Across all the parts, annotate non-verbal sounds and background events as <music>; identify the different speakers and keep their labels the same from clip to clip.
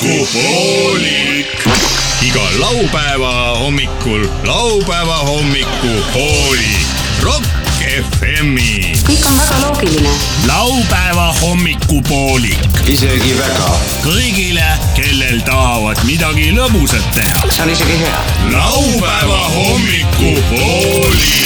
Speaker 1: hommikupoolik . iga laupäeva hommikul laupäeva hommikupoolik . Rock FM-i .
Speaker 2: kõik on väga loogiline .
Speaker 1: laupäeva hommikupoolik
Speaker 3: isegi väga .
Speaker 1: kõigile , kellel tahavad midagi lõbusat teha .
Speaker 3: see on isegi hea .
Speaker 1: laupäeva hommikupoolik .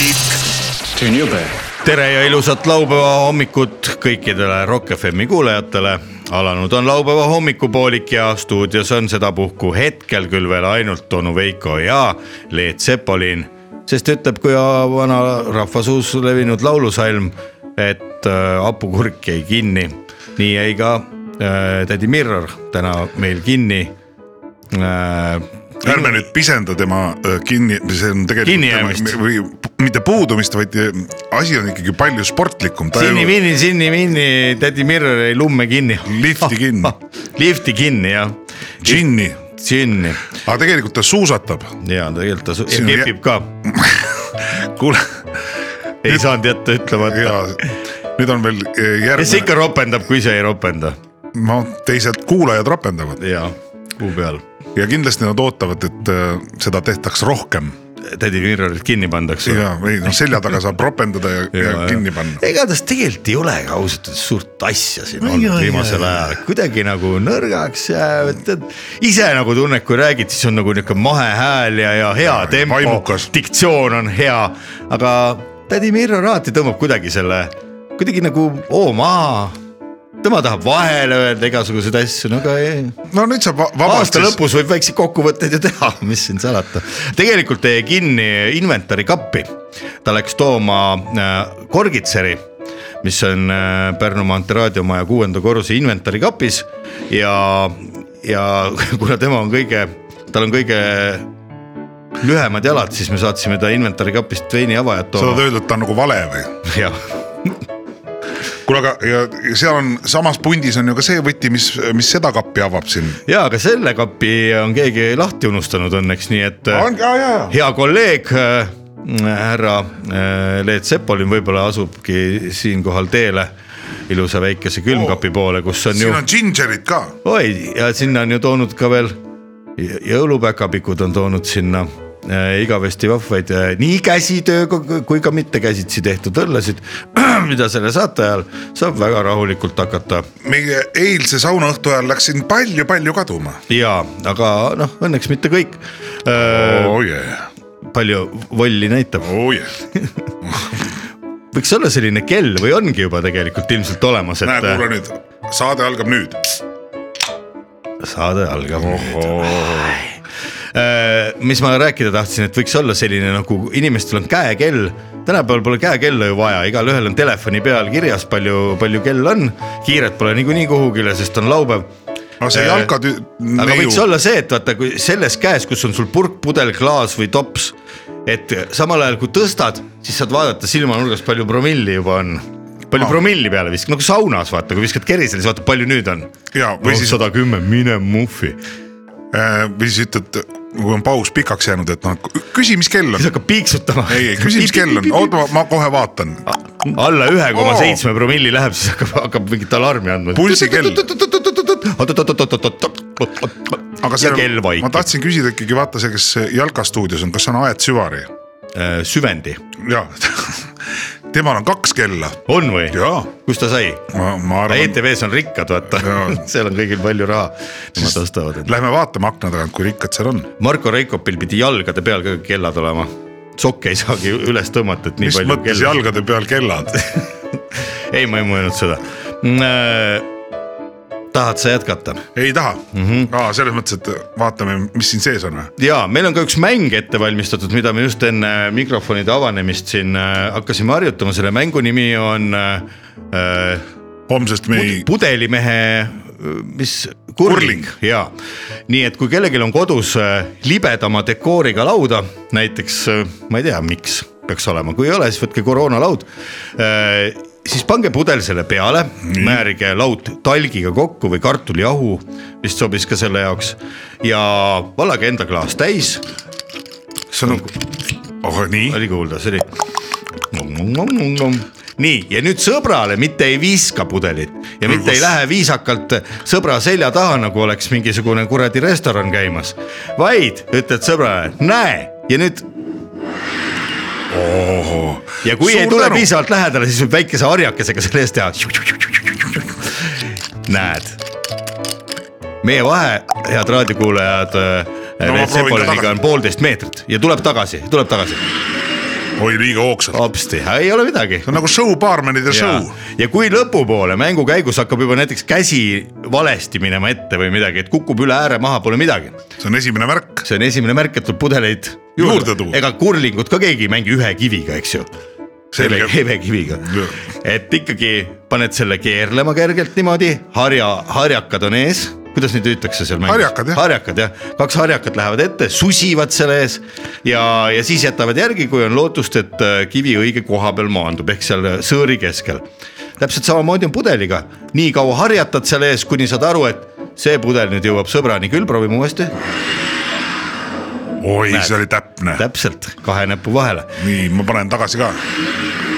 Speaker 3: see on jube .
Speaker 4: tere ja ilusat laupäeva hommikut kõikidele Rock FM-i kuulajatele . alanud on laupäeva hommikupoolik ja stuudios on sedapuhku hetkel küll veel ainult onu Veiko ja Leet Sepolin . sest ütleb kui vana rahvasuus levinud laulusalm , et äh, hapukurk jäi kinni . nii jäi ka äh, tädi Mirror täna meil kinni äh, .
Speaker 5: ärme nüüd pisenda tema öö, kinni , see on tegelikult
Speaker 4: Kinnijäämist.
Speaker 5: tema, või p- mitte puudumist , vaid öö, asi on ikkagi palju sportlikum .
Speaker 4: sinni-minni , sinni-minni , tädi Mirror jäi lumme kinni .
Speaker 5: Lifti kinni.
Speaker 4: <laughs> lifti kinni jah .
Speaker 5: džinni ,
Speaker 4: džinni
Speaker 5: aga tegelikult ta suusatab .
Speaker 4: ja tegelikult ta su- ja
Speaker 5: Siin on
Speaker 4: kepib ka ,
Speaker 5: kuule ,
Speaker 4: ei saanud jätta ütlemata
Speaker 5: ja . nüüd on veel öö,
Speaker 4: kes see
Speaker 5: järgmine ,
Speaker 4: ikka ropendab , kui ise ei ropenda
Speaker 5: no teised kuulajad ropendavad
Speaker 4: ja kuu peal
Speaker 5: ja kindlasti nad ootavad , et öö, seda tehtaks rohkem
Speaker 4: tädi Mirrorit kinni pandakse .
Speaker 5: ja , või noh , selja taga saab ropendada ja, ja, ja kinni panna .
Speaker 4: igatahes tegelikult ei ole ka ausalt öeldes suurt asja siin
Speaker 5: Ai,
Speaker 4: olnud
Speaker 5: ai,
Speaker 4: viimasel
Speaker 5: ai.
Speaker 4: ajal , kuidagi nagu nõrgaks jäävad , tead . ise nagu tunned , kui räägid , siis on nagu niuke mahe hääl ja , ja hea
Speaker 5: Ja,
Speaker 4: tempo
Speaker 5: vaimukas. ,
Speaker 4: diktsioon on hea , aga tädi Mirro alati tõmbab kuidagi selle , kuidagi nagu oo maa tema tahab vahele öelda igasuguseid asju , no aga ei,
Speaker 5: no nüüd saab va- vabalt
Speaker 4: aasta lõpus võib väikseid kokkuvõtteid ju teha , <laughs> mis siin salata . tegelikult jäi kinni inventari kappi , ta läks tooma äh, korgitseri , mis on äh, Pärnu maantee raadiomaja kuuenda korruse inventari kapis ja , ja <laughs> kuna tema on kõige , tal on kõige lühemad jalad , siis me saatsime ta inventari kapist veiniavajad <laughs>
Speaker 5: sa tahad
Speaker 4: tooma .
Speaker 5: öelda , et ta on nagu vale või ?
Speaker 4: jah ,
Speaker 5: kuule , aga ja ja seal on samas pundis on ju ka see võti , mis , mis seda kappi avab siin .
Speaker 4: ja aga selle kapi on keegi lahti unustanud õnneks , nii et äh,
Speaker 5: on ka ja , ja .
Speaker 4: hea kolleeg äh, härra äh, Leet Sepolin võib-olla asubki siinkohal teele ilusa väikese külmkapi poole , kus on ju
Speaker 5: Oh, siin , on džingerit ka ,
Speaker 4: oi ja sinna on ju toonud ka veel jõ- jõulupäkapikud on toonud sinna äh, igavesti vahvaid äh, nii käsitööga kui ka mitte käsitsi tehtud õllesid , <clears throat> mida selle saate ajal saab väga rahulikult hakata
Speaker 5: meie eilse saunaõhtu ajal läks siin palju-palju kaduma .
Speaker 4: ja aga noh , õnneks mitte kõik . Äh,
Speaker 5: oo jee ,
Speaker 4: palju volli näitab .
Speaker 5: oo jee ,
Speaker 4: võiks olla selline kell või ongi juba tegelikult ilmselt olemas , et
Speaker 5: näe kuule nüüd , saade algab nüüd .
Speaker 4: saade algab nüüd . mis ma rääkida tahtsin , et võiks olla selline nagu inimestel on käekell , tänapäeval pole käekella ju vaja , igalühel on telefoni peal kirjas , palju , palju kell on , kiiret pole niikuinii kuhugile , sest on laupäev .
Speaker 5: aga see
Speaker 4: Eh,
Speaker 5: jalkatü- ,
Speaker 4: aga võiks
Speaker 5: neiu ,
Speaker 4: olla see , et vaata , kui selles käes , kus on sul purk , pudel , klaas või tops , et samal ajal kui tõstad , siis saad vaadata silmanurgas , palju promilli juba on palju
Speaker 5: Aa.
Speaker 4: promilli peale viskad , nagu saunas vaata , kui viskad kerisele , siis vaata palju nüüd on .
Speaker 5: Jaa, või siis- Äh,
Speaker 4: sada kümme , mine muffi
Speaker 5: või siis ütled , kui on paus pikaks jäänud , et noh , küsi , mis
Speaker 4: <laughs>
Speaker 5: kell on
Speaker 4: siis . hakkab piiksutama .
Speaker 5: ei , ei küsi , mis kell on , oota , ma kohe vaatan .
Speaker 4: alla ühe koma seitsme promilli läheb , siis hakkab , hakkab mingit alarmi andma .
Speaker 5: Pulsikell. aga
Speaker 4: ja
Speaker 5: see
Speaker 4: kell ,
Speaker 5: ma
Speaker 4: vaikib ,
Speaker 5: tahtsin küsida ikkagi vaata see , kes jalkastuudios on , kas see on Aet Süvari ?
Speaker 4: Äh, süvendi
Speaker 5: jaa , <laughs> temal on kaks kella .
Speaker 4: on või ?
Speaker 5: jaa ,
Speaker 4: kust ta sai ?
Speaker 5: ma , ma arvan ,
Speaker 4: ETV-s E on rikkad , vaata
Speaker 5: Jaa. ,
Speaker 4: <laughs> seal on kõigil palju raha , nemad ostavad endale .
Speaker 5: lähme vaatame akna tagant , kui rikkad seal on .
Speaker 4: Marko Reikopil pidi jalgade peal ka kellad olema , sokke ei saagi üles tõmmata , et nii
Speaker 5: mis
Speaker 4: palju
Speaker 5: mõttes . jalgade peal kellad ? <laughs>
Speaker 4: <laughs> ei , ma ei mõelnud seda . tahad sa jätkata ?
Speaker 5: ei taha mm ,
Speaker 4: Mhm.
Speaker 5: -hmm. aa selles mõttes , et vaatame , mis siin sees on või ?
Speaker 4: ja meil on ka üks mäng ette valmistatud , mida me just enne mikrofonide avanemist siin äh, hakkasime harjutama , selle mängu nimi on äh,
Speaker 5: homsest me ei ,
Speaker 4: pudelimehe , mis , kurling, kurling.
Speaker 5: Kurling.
Speaker 4: ja nii et kui kellelgi on kodus äh, libedama dekooriga lauda , näiteks äh, ma ei tea , miks peaks olema , kui ei ole , siis võtke koroonalaud äh, siis pange pudel selle peale , määrige laud talgiga kokku või kartulijahu , vist sobis ka selle jaoks ja vallage enda klaas täis
Speaker 5: see on nagu , oh nii ,
Speaker 4: oli kuulda , see oli . nii ja nüüd sõbrale mitte ei viska pudelit ja mitte ei lähe viisakalt sõbra selja taha , nagu oleks mingisugune kuradi restoran käimas , vaid ütled sõbrale , näe ja nüüd
Speaker 5: ohoh .
Speaker 4: ja kui Suur ei tule tänu. . piisavalt lähedale , siis võib väikese harjakesega selle eest teha . näed , meie vahe , head raadiokuulajad
Speaker 5: No
Speaker 4: no, ,
Speaker 5: ma
Speaker 4: Leet
Speaker 5: proovin ka
Speaker 4: Sepoliniga
Speaker 5: tagasi.
Speaker 4: on poolteist meetrit ja tuleb tagasi , tuleb tagasi ,
Speaker 5: oi , liiga hoogsalt .
Speaker 4: hopsti , ei ole midagi
Speaker 5: see on nagu show baarmenide
Speaker 4: ja
Speaker 5: show .,
Speaker 4: ja kui lõpupoole mängu käigus hakkab juba näiteks käsi valesti minema ette või midagi , et kukub üle ääre maha , pole midagi .
Speaker 5: see on esimene märk .
Speaker 4: see on esimene märk , et tuleb pudeleid
Speaker 5: Juurde
Speaker 4: juurde
Speaker 5: tuua.
Speaker 4: tuua . ega kurlingut ka keegi ei mängi ühe kiviga , eks ju selle
Speaker 5: selge .
Speaker 4: hebekiviga
Speaker 5: Jah. ,
Speaker 4: et ikkagi paned selle keerlema kergelt niimoodi , harja , harjakad on ees , kuidas neid hüütakse seal mängus ?
Speaker 5: Harjakad, jah.
Speaker 4: harjakad jah , kaks harjakat lähevad ette , susivad selle ees ja , ja siis jätavad järgi , kui on lootust , et äh, kivi õige koha peal maandub , ehk seal äh, sõõri keskel . täpselt samamoodi on pudeliga , nii kaua harjatad selle ees , kuni saad aru , et see pudel nüüd jõuab sõbrani küll , proovime uuesti ,
Speaker 5: oi , see oli täpne .
Speaker 4: täpselt kahe näpu vahele .
Speaker 5: nii , ma panen tagasi ka .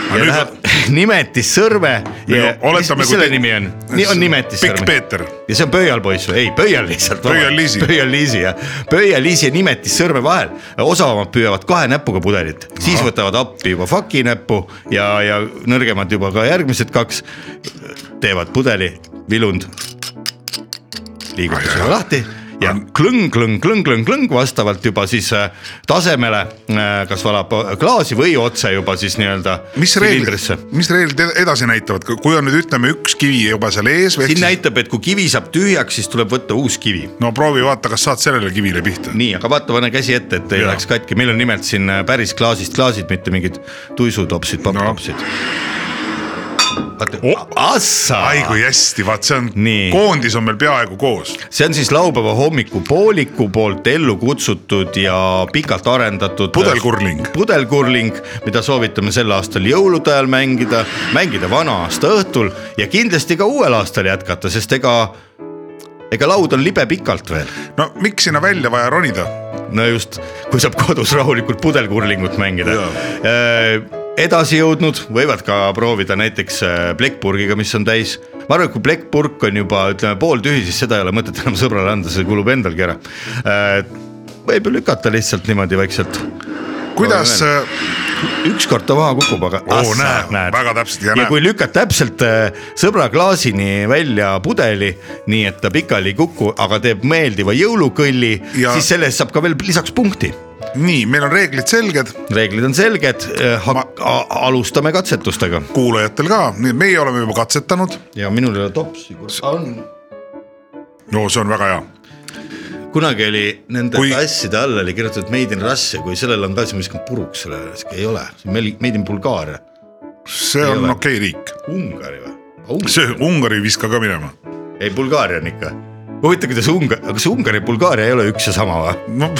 Speaker 4: ja
Speaker 5: nüüd
Speaker 4: läheb <laughs> nimetis sõrme ja mis,
Speaker 5: oletame ,
Speaker 4: mis selle nimi on ? nii on nimetis
Speaker 5: Pikk
Speaker 4: sõrme .
Speaker 5: Peeter ,
Speaker 4: ja see on pöialpoiss või ei , pöial lihtsalt .
Speaker 5: Pöialliisi.
Speaker 4: pöialliisi jah , pöialliisi ja nimetis sõrme vahel , osavamad püüavad kahe näpuga pudelit , siis võtavad appi juba faki näpu ja , ja nõrgemad juba ka järgmised kaks teevad pudeli , vilund liigutab selle lahti ja klõng , klõng , klõng , klõng , klõng vastavalt juba siis äh, tasemele , kas valab äh, klaasi või otse juba siis nii-öelda .
Speaker 5: mis reeglid , mis reeglid ed- edasi näitavad , kui on nüüd ütleme üks kivi juba seal ees või
Speaker 4: siin
Speaker 5: siis...
Speaker 4: näitab , et kui kivi saab tühjaks , siis tuleb võtta uus kivi .
Speaker 5: no proovi vaata , kas saad sellele kivile pihta .
Speaker 4: nii , aga vaata , pane käsi ette , et ei
Speaker 5: Jaa.
Speaker 4: läheks katki , meil on nimelt siin äh, päris klaasist klaasid , mitte mingid tuisutopsid , papptopsid no. . assa
Speaker 5: Oh. ai , kui hästi , vaat see on
Speaker 4: Nii. ,
Speaker 5: koondis on meil peaaegu koos .
Speaker 4: see on siis laupäeva hommikupooliku poolt ellu kutsutud ja pikalt arendatud .
Speaker 5: Pudelkurling.
Speaker 4: pudelkurling , mida soovitame sel aastal jõulude ajal mängida , mängida vana-aasta õhtul ja kindlasti ka uuel aastal jätkata , sest ega , ega laud on libe pikalt veel .
Speaker 5: no miks sinna välja vaja ronida ?
Speaker 4: no just , kui saab kodus rahulikult pudelkurlingut mängida Äh,
Speaker 5: Jaa. .
Speaker 4: edasi jõudnud võivad ka proovida näiteks äh, plekkpurgiga , mis on täis . ma arvan , et kui plekkpurk on juba ütleme pooltühi , siis seda ei ole mõtet enam sõbrale anda , see kulub endalgi ära . võib ju lükata lihtsalt niimoodi vaikselt ,
Speaker 5: kuidas ,
Speaker 4: ükskord ta maha kukub , aga .
Speaker 5: oo näe , väga täpselt ja
Speaker 4: ja
Speaker 5: näe ,
Speaker 4: kui lükkad täpselt äh, sõbra klaasini välja pudeli , nii et ta pikali ei kuku , aga teeb meeldiva jõulukõlli
Speaker 5: Ja-
Speaker 4: ja... , siis selle eest saab ka veel lisaks punkti
Speaker 5: äh, nii , meil on reeglid selged
Speaker 4: reeglid on selged ,
Speaker 5: Ma-
Speaker 4: alustame katsetustega .
Speaker 5: kuulajatel ka , nii et meie oleme juba katsetanud .
Speaker 4: ja minul ei ole topsi , kus on .
Speaker 5: no see on väga hea ,
Speaker 4: kunagi oli nende
Speaker 5: Kui-
Speaker 4: kui... tasside all oli kirjutatud Made in Russia , kui sellel on ka , siis ma viskan puruks selle , ei ole , see on meil Made in Bulgaaria ,
Speaker 5: see
Speaker 4: Ei
Speaker 5: on
Speaker 4: ole.
Speaker 5: okei okay riik ,
Speaker 4: Ungari või Ung... ?
Speaker 5: see Ungari ei viska ka minema .
Speaker 4: ei , Bulgaaria on ikka . huvitav , kuidas Ungar- , kas Ungari ja Bulgaaria ei ole üks ja sama või ?
Speaker 5: no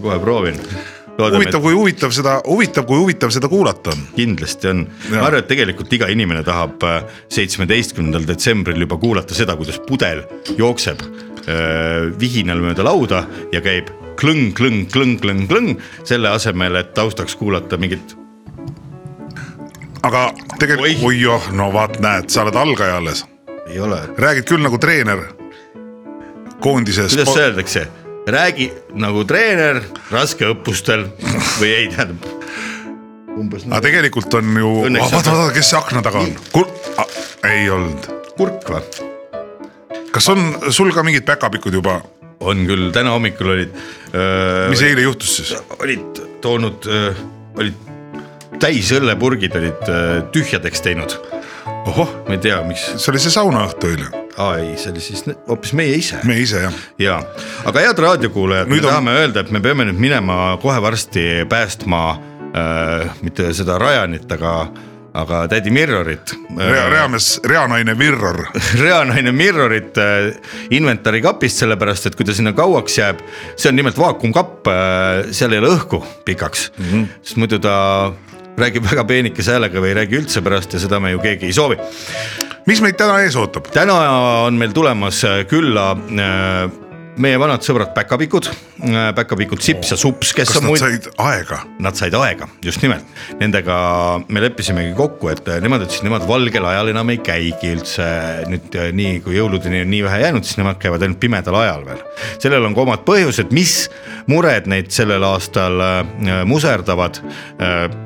Speaker 4: kohe proovin .
Speaker 5: <laughs> huvitav , kui huvitav seda , huvitav , kui huvitav seda kuulata on .
Speaker 4: kindlasti on ,
Speaker 5: Jaa.
Speaker 4: ma arvan , et tegelikult iga inimene tahab äh, seitsmeteistkümnendal detsembril juba kuulata seda , kuidas pudel jookseb öö, vihinal mööda lauda ja käib klõng , klõng , klõng , klõng , klõng , selle asemel , et taustaks kuulata mingit ,
Speaker 5: aga
Speaker 4: Oih.
Speaker 5: tegelikult , oi joh , no vaat näed , sa oled algaja alles ,
Speaker 4: ei ole ,
Speaker 5: räägid küll nagu treener . koondises .
Speaker 4: kuidas öeldakse , räägi nagu treener raskeõppustel <laughs> või ei tähendab , umbes
Speaker 5: aga
Speaker 4: nagu
Speaker 5: tegelikult on ju ,
Speaker 4: Õnneks
Speaker 5: vaata ,
Speaker 4: on-
Speaker 5: vaata , kes see akna taga on , kur- , ei olnud .
Speaker 4: kurk või ?
Speaker 5: kas on sul ka mingid päkapikud juba ,
Speaker 4: on küll , täna hommikul olid , äh,
Speaker 5: mis eile juhtus siis ?
Speaker 4: olid toonud , olid täis õllepurgid olid öö, tühjadeks teinud
Speaker 5: ohoh ,
Speaker 4: ma ei tea , miks ,
Speaker 5: see oli see saunaõhtu eile ,
Speaker 4: aa ei , see oli siis ne- hoopis meie ise
Speaker 5: me ise jah ,
Speaker 4: ja , aga head raadiokuulajad , me
Speaker 5: Nüüd
Speaker 4: on...
Speaker 5: on-
Speaker 4: tahame öelda , et me peame nüüd minema kohe varsti päästma äh, mitte seda Ryanit , aga , aga tädi Mirrorit
Speaker 5: rea ,
Speaker 4: äh, .
Speaker 5: reamees , reanaine Mirror ,
Speaker 4: reanaine Mirrorit äh, inventari kapist , sellepärast et kui ta sinna kauaks jääb , see on nimelt vaakumkapp äh, , seal ei ole õhku pikaks mm ,
Speaker 5: Mhm.
Speaker 4: -hmm. sest muidu ta räägib väga peenikese häälega või ei räägi üldse pärast ja seda me ju keegi ei soovi
Speaker 5: mis meid täna ees ootab ?
Speaker 4: täna on meil tulemas külla äh, meie vanad äh, sõbrad päkapikud äh, päkapikud Sips ja Sups , kes
Speaker 5: kas
Speaker 4: on
Speaker 5: nad
Speaker 4: muid ,
Speaker 5: said aega ?
Speaker 4: nad said aega , just nimelt . Nendega me leppisimegi kokku , et äh, nemad ütlesid , nemad valgel ajal enam ei käigi üldse nüüd äh, nii , kui jõuludeni on nii vähe jäänud , siis nemad käivad ainult pimedal ajal veel . sellel on ka omad põhjused , mis mured neid sellel aastal äh, muserdavad .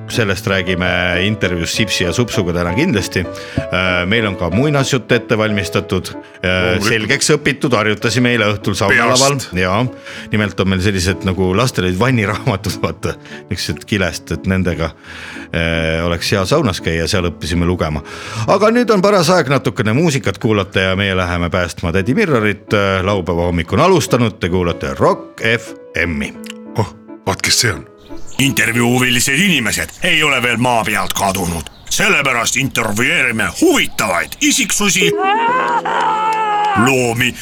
Speaker 4: sellest räägime intervjuus Sipsi ja Supsuga täna kindlasti . meil on ka muinasjutt ette valmistatud , selgeks õpitud , harjutasime eile õhtul saunalaval
Speaker 5: Peast.
Speaker 4: ja nimelt on meil sellised nagu lastele vanniraamatud , vaata niisugused kilest , et nendega eh, oleks hea saunas käia , seal õppisime lugema . aga nüüd on paras aeg natukene muusikat kuulata ja meie läheme päästma tädi Mirrorit . laupäeva hommik on alustanud , te kuulate Rock FM-i .
Speaker 5: oh , vaat kes see on .
Speaker 1: intervjuu huvilised inimesed ei ole veel maa pealt kadunud , sellepärast intervjueerime huvitavaid isiksusi , loomi ,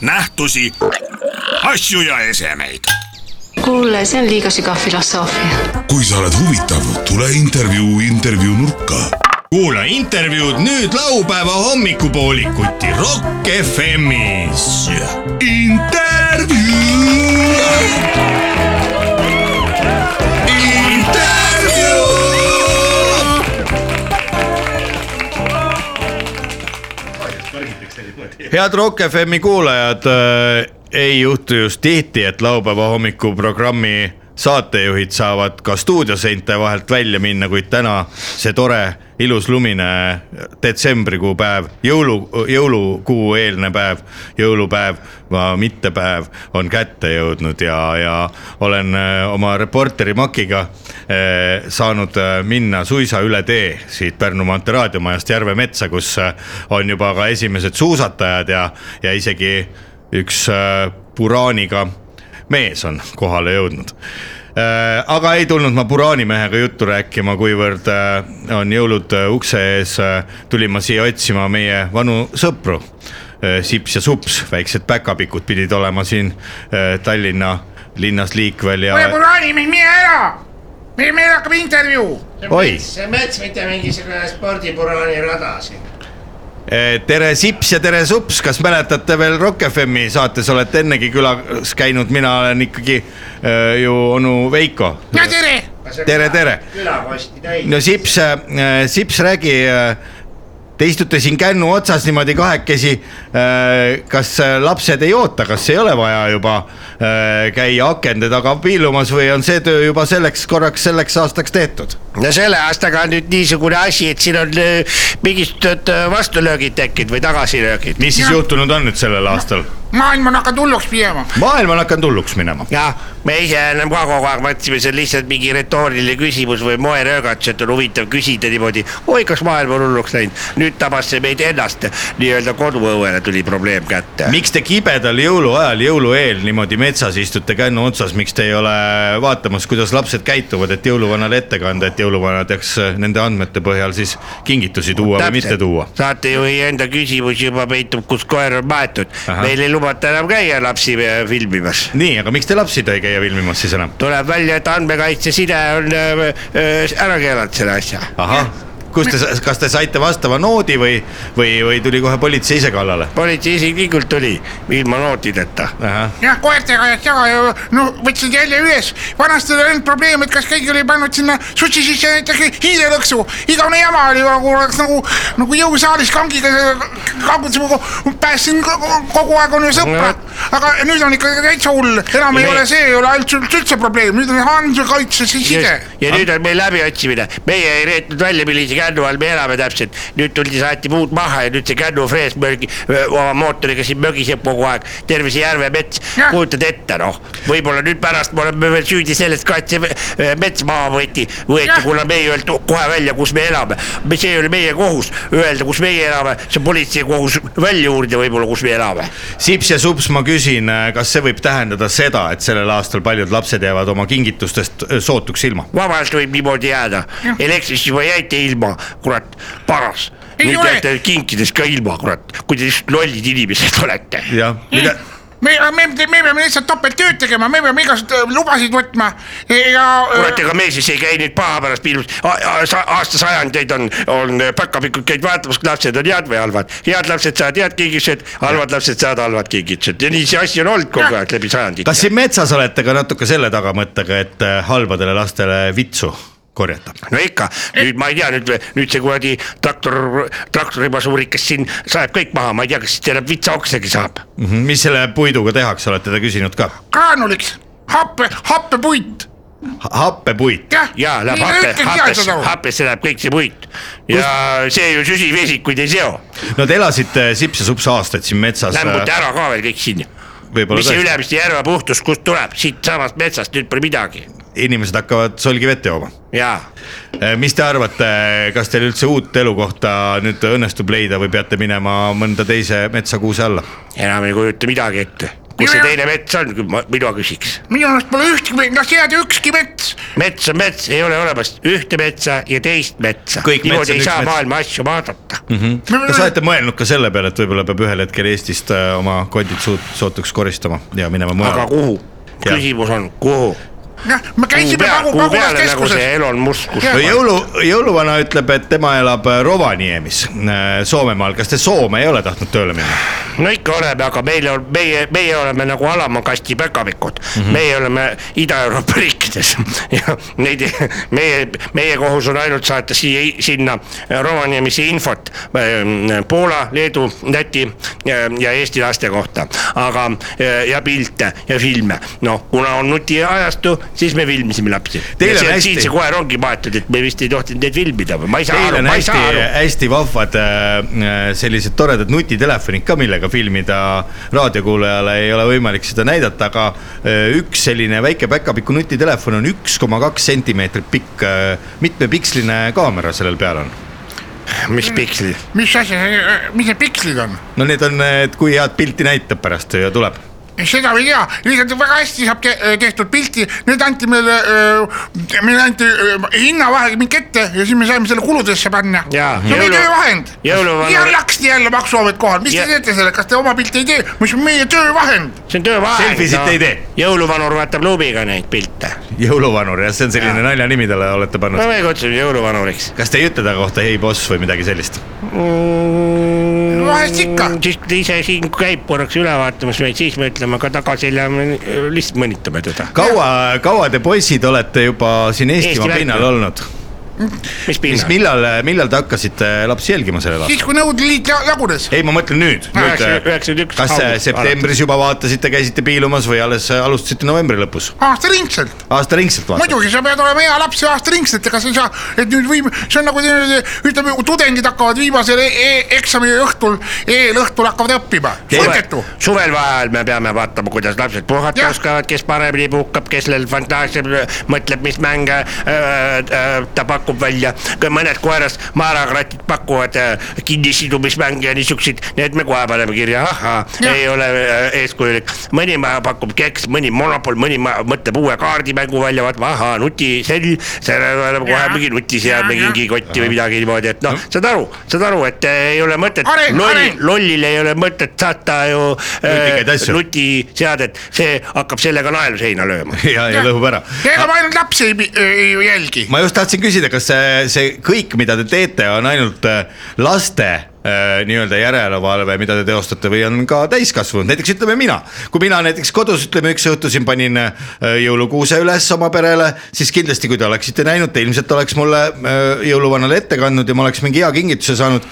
Speaker 1: nähtusi , asju ja esemeid .
Speaker 2: kuule , see on liiga sügav filosoofia .
Speaker 6: kui sa oled huvitav , tule intervjuu intervjuu nurka .
Speaker 4: kuula intervjuud nüüd laupäeva hommikupoolikuti Rock FM-is .
Speaker 6: intervjuu .
Speaker 4: head Rock FM-i kuulajad , ei juhtu just tihti , et laupäeva hommikuprogrammi saatejuhid saavad ka stuudioseinte vahelt välja minna , kuid täna see tore ilus lumine detsembrikuu päev , jõulu , jõulukuu eelne päev , jõulupäev , mittepäev on kätte jõudnud ja , ja olen äh, oma reporteri Makiga äh, saanud äh, minna suisa üle tee siit Pärnu maantee raadiomajast Järve metsa , kus äh, on juba ka esimesed suusatajad ja , ja isegi üks äh, puraaniga mees on kohale jõudnud . aga ei tulnud ma puraanimehega juttu rääkima , kuivõrd äh, on jõulud äh, ukse ees , tulin ma siia otsima meie vanu sõpru . Sips ja Sups , väiksed päkapikud pidid olema siin äh, Tallinna linnas liikvel ja
Speaker 7: kuule , Burani , mine ära , meil , meil hakkab intervjuu .
Speaker 4: oi ,
Speaker 7: see mets , mitte mingisugune spordiburani rada siin .
Speaker 4: Eh, tere Sips ja tere Sups , kas mäletate veel Rock FM-i saates olete ennegi külas käinud , mina olen ikkagi äh, ju onu Veiko .
Speaker 7: no tere .
Speaker 4: Tere, tere.
Speaker 7: külakosti täis .
Speaker 4: no Sips , Sips , räägi , te istute siin kännu otsas niimoodi kahekesi . kas äh, lapsed ei oota , kas ei ole vaja juba äh, käia akende taga piilumas või on see töö juba selleks korraks , selleks aastaks tehtud ?
Speaker 8: no selle aastaga on nüüd niisugune asi , et siin on öö, mingisugused öö, vastulöögid tekkinud või tagasilöögid .
Speaker 4: mis siis juhtunud on nüüd sellel aastal ?
Speaker 7: maailm on hakanud hulluks minema .
Speaker 4: maailm on hakanud hulluks minema .
Speaker 8: jah , me ise ennem ka kogu aeg mõtlesime , see on lihtsalt mingi retooriline küsimus või moeröögatus , et on huvitav küsida niimoodi , oi , kas maailm on hulluks läinud . nüüd tabas see meid ennast , nii-öelda koduõuele tuli probleem kätte .
Speaker 4: miks te kibedal jõuluajal , jõulueel niimoodi metsas istute kännu otsas , miks te ei ole vaatamas , kuidas lapsed käituvad , et jõuluvanale ette kanda , et jõuluvana teaks nende andmete põhjal siis kingitusi tuua või mitte tuua ?
Speaker 8: saatejuhi enda küsimus juba peitub , kus koer on maetud
Speaker 4: Ahah. .
Speaker 8: meil ei lubata enam käia lapsi öö, filmimas
Speaker 4: nii , aga miks te lapsi ei käia filmimas siis enam ?
Speaker 8: tuleb välja , et andmekaitseside on öö, öö, ära keelanud selle asja .
Speaker 4: ahah , kus te , kas te saite vastava noodi või , või , või tuli kohe politsei ise kallale ?
Speaker 8: politsei isiklikult tuli ilma nootideta .
Speaker 4: ahah ,
Speaker 7: jah , koertega läks jaga ja no võtsid jälle üles . vanasti oli ainult probleem , et kas keegi oli pannud sinna sussi sisse näiteks hiirelõksu . igavene jama oli nagu , oleks nagu , nagu jõusaalis kangiga kangutasime , päästsin ko- kogu aeg on ju sõprad . aga nüüd on ikka täitsa hull , enam ei
Speaker 8: Ja me-
Speaker 7: ole , see ei ole ainult üldse- üldse probleem , nüüd on andmekaitse siis
Speaker 8: ja
Speaker 7: side
Speaker 8: ja nüüd on meil läbiotsimine , meie ei reetnud välja , millise kännu all me elame täpselt , nüüd tuldi , saati puud maha ja nüüd see kännufrees mörgi , oma mootoriga siin mögiseb kogu aeg , terve see järve mets ,
Speaker 7: Jah.
Speaker 8: kujutad ette noh , võib-olla nüüd pärast me oleme veel süüdi selles ka , et see öö, mets maha võeti , võeti
Speaker 7: Jah. ,
Speaker 8: kuna me ei öelnud kohe välja , kus me elame , see oli meie kohus öelda , kus meie elame , see on politsei kohus välja uurida võib-olla , kus me elame
Speaker 4: Sips ja Sups , ma küsin , kas see võib tähendada seda , et sellel aastal paljud lapsed jäävad oma kingitustest öö, sootuks ilma ?
Speaker 8: vabalt võib niimoodi jääda , elektrist juba jäite ilma , kurat , paras .
Speaker 7: Ei
Speaker 8: nüüd
Speaker 7: ole.
Speaker 8: jääte kinkidest ka ilma , kurat , kui te lihtsalt lollid inimesed olete .
Speaker 4: jah , mida ,
Speaker 7: me , me , me peame lihtsalt topelttööd tegema , me peame igast äh, lubasid võtma ja . äh,
Speaker 8: kurat , ega me siis ei käi nüüd paha pärast piilus , aastasajandeid on , on äh, päkapikud käid vaatamas , kas lapsed on head või halvad . head lapsed saavad head kingitused , halvad lapsed saavad halvad kingitused ja nii see asi on olnud kogu aeg läbi sajandite .
Speaker 4: kas siin metsas olete ka natuke selle tagamõttega , et äh, halbadele lastele vitsu korjata ?
Speaker 8: no ikka , nüüd ma ei tea , nüüd , nüüd see kuradi traktor , traktoribasuurikas siin saeb kõik maha , ma ei tea , kas siit enam vitsauksegi saab .
Speaker 4: mis selle puiduga tehakse , olete te küsinud ka ?
Speaker 7: graanuliks , happe , happepuit ,
Speaker 4: happepuit ,
Speaker 7: jah .
Speaker 8: ja läheb happe , happesse , happesse läheb kõik see puit ja see ju süsivesikuid ei seo ,
Speaker 4: no te elasite sips ja sups aastaid siin metsas .
Speaker 8: lämbuta ära ka veel kõik siin
Speaker 4: võib-olla
Speaker 8: mis see
Speaker 4: tõesti ,
Speaker 8: Ülemiste järve puhtus , kust tuleb , siitsamast metsast , nüüd pole midagi .
Speaker 4: inimesed hakkavad solgivett jooma .
Speaker 8: jaa ,
Speaker 4: mis te arvate , kas teil üldse uut elukohta nüüd õnnestub leida või peate minema mõnda teise metsakuuse alla ?
Speaker 8: enam ei kujuta midagi ette . kus see
Speaker 7: Mina-
Speaker 8: teine mets on , mina küsiks .
Speaker 7: minu arust pole ühtki , las jääb ükski mets .
Speaker 8: mets on mets , ei ole olemas ühte metsa ja teist metsa .
Speaker 4: Kõik mets
Speaker 8: niimoodi
Speaker 4: on
Speaker 8: ei
Speaker 4: üks
Speaker 8: saa
Speaker 4: mets. Mhm.
Speaker 8: maailma asju vaadata mm . -hmm.
Speaker 4: kas olete mõelnud ka selle peale , et võib-olla peab ühel hetkel Eestist äh, oma kondid suut- , sootuks koristama ja minema
Speaker 8: aga
Speaker 4: mujale ?
Speaker 8: kuhu ?
Speaker 4: Jah.
Speaker 8: küsimus on , kuhu ?
Speaker 7: jah , me
Speaker 8: kuhu
Speaker 7: käisime
Speaker 8: pea-
Speaker 7: Pagu ,
Speaker 8: kuhu peale nagu
Speaker 7: pagulaskeskuses
Speaker 8: see . Elon Musk , kus
Speaker 7: Jah.
Speaker 4: no jõulu , jõuluvana ütleb , et tema elab äh, Rovaniemis äh, Soomemaal , kas te Soome ei ole tahtnud tööle minna ?
Speaker 8: no ikka oleme , aga meil on , meie , meie oleme nagu alama kasti päkapikud mm ,
Speaker 4: Mhm.
Speaker 8: -hmm. meie oleme Ida-Euroopa riikides <laughs> ja neid , meie , meie kohus on ainult saata siia , sinna Rovaniemisse infot ähm, Poola , Leedu , Läti ähm, ja Eesti laste kohta , aga äh, ja pilte ja filme , noh , kuna on nutiajastu , siis me filmisime lapsi .
Speaker 4: Teil on hästi-
Speaker 8: siit see koer ongi maetud , et me vist ei tohtinud neid filmida või ma ei saa
Speaker 4: Teil
Speaker 8: aru ,
Speaker 4: on
Speaker 8: ma ei
Speaker 4: hästi
Speaker 8: saa aru ,,
Speaker 4: hästi vahvad äh, sellised toredad nutitelefonid ka , millega filmida . raadiokuulajale ei ole võimalik seda näidata , aga äh, üks selline väike päkapiku nutitelefon on üks koma kaks sentimeetrit pikk , mitmepiksline kaamera sellel peal on . äh,
Speaker 8: mis pikslid .
Speaker 7: mis asi , mis need pikslid on ?
Speaker 4: no need on , et kui head pilti näitab pärast ja tuleb .
Speaker 7: seda ma ei tea , lihtsalt väga hästi saab te tehtud pilti , nüüd anti meile , meile anti äh, öö, hinnavahemik ette ja siis me saime selle kuludesse panna .
Speaker 8: Jaa.
Speaker 7: see oli
Speaker 8: Jõulu-
Speaker 7: töövahend .
Speaker 8: jõuluvana-
Speaker 7: ja laksti jälle maksuamet kohal , mis
Speaker 8: Ja-
Speaker 7: te teete sellega , kas te oma pilti ei tee , mis on meie töövahend ?
Speaker 8: see on töövahend .
Speaker 4: Selfisid ei tee.
Speaker 8: jõuluvanur vaatab luubiga neid pilte .
Speaker 4: jõuluvanur jah , see on selline naljanimi talle olete
Speaker 8: no
Speaker 4: pannud .
Speaker 8: me kutsume jõuluvanuriks
Speaker 4: kas te ei ütle ta kohta ei boss või midagi sellist ?
Speaker 8: mm,
Speaker 7: vahest ikka.
Speaker 8: siis ta ise siin käib korraks üle vaatamas meid , siis me ütleme ka tagasi ja me lihtsalt mõnitame teda .
Speaker 4: kaua , kaua te poisid olete juba siin Eestimaa
Speaker 8: vältel.
Speaker 4: pinnal olnud ?
Speaker 8: mis
Speaker 4: siis
Speaker 8: pinnal ?
Speaker 4: millal , millal te hakkasite lapsi jälgima sellel aastal ?
Speaker 7: siis , kui Nõukogude Liit la- lagunes .
Speaker 4: ei , ma mõtlen nüüd,
Speaker 8: No,
Speaker 4: nüüd .
Speaker 8: üheksakümmend üks
Speaker 4: kas äh,
Speaker 8: august
Speaker 4: septembris juba vaatasite , käisite piilumas või alles äh, alustasite novembri lõpus ?
Speaker 7: aastaringselt ,
Speaker 4: aastaringselt vaatasite ?
Speaker 7: muidugi sa pead olema hea laps ja aastaringselt , ega sa ei saa , et nüüd võim- , see on nagu niimoodi, ütleme , tudengid hakkavad viimasel e e eksami õhtul , eelõhtul hakkavad õppima , mõttetu .
Speaker 8: suvel vaheajal me peame vaatama , kuidas lapsed puhata
Speaker 7: Jah.
Speaker 8: oskavad , kes paremini puhkab , kellel fantaasia äh, mõtleb , mis mänge äh, äh, ta pakub välja . mõned koeras maakratid pakuvad äh, kinnisidumismänge ja niisuguseid , need me kohe paneme kirja , ahhaa ,
Speaker 7: Jah.
Speaker 8: ei ole äh, eeskujulik . mõni ma- pakub keks , mõni monopol , mõni ma- mõtleb uue kaardimängu välja , vaatame , ahhaa , nutisell , selle peale kohe
Speaker 7: Jah.
Speaker 8: mingi nutiseadme
Speaker 7: Jah, jah.
Speaker 8: kingikotti või midagi niimoodi , et noh , saad aru , saad aru , et äh, ei ole mõtet
Speaker 7: Areng,
Speaker 8: lolli
Speaker 7: areng. ,
Speaker 8: lollil ei ole mõtet saata ju äh,
Speaker 4: Nutikaid asju.
Speaker 8: nutiseadet , see hakkab sellega naelu seina lööma .
Speaker 4: <laughs> ja , ja lõhub ära .
Speaker 7: ega ma ainult lapsi ei, ei ju jälgi .
Speaker 4: ma just tahtsin küsida , kas see , see kõik , mida te teete , on ainult äh, laste äh, nii-öelda järelevalve , mida te teostate või on ka täiskasvanud , näiteks ütleme mina . kui mina näiteks kodus ütleme üks õhtu siin panin äh, jõulukuuse üles oma perele , siis kindlasti , kui te oleksite näinud , te ilmselt oleks mulle äh, jõuluvanale ette kandnud ja ma oleks mingi hea kingituse saanud .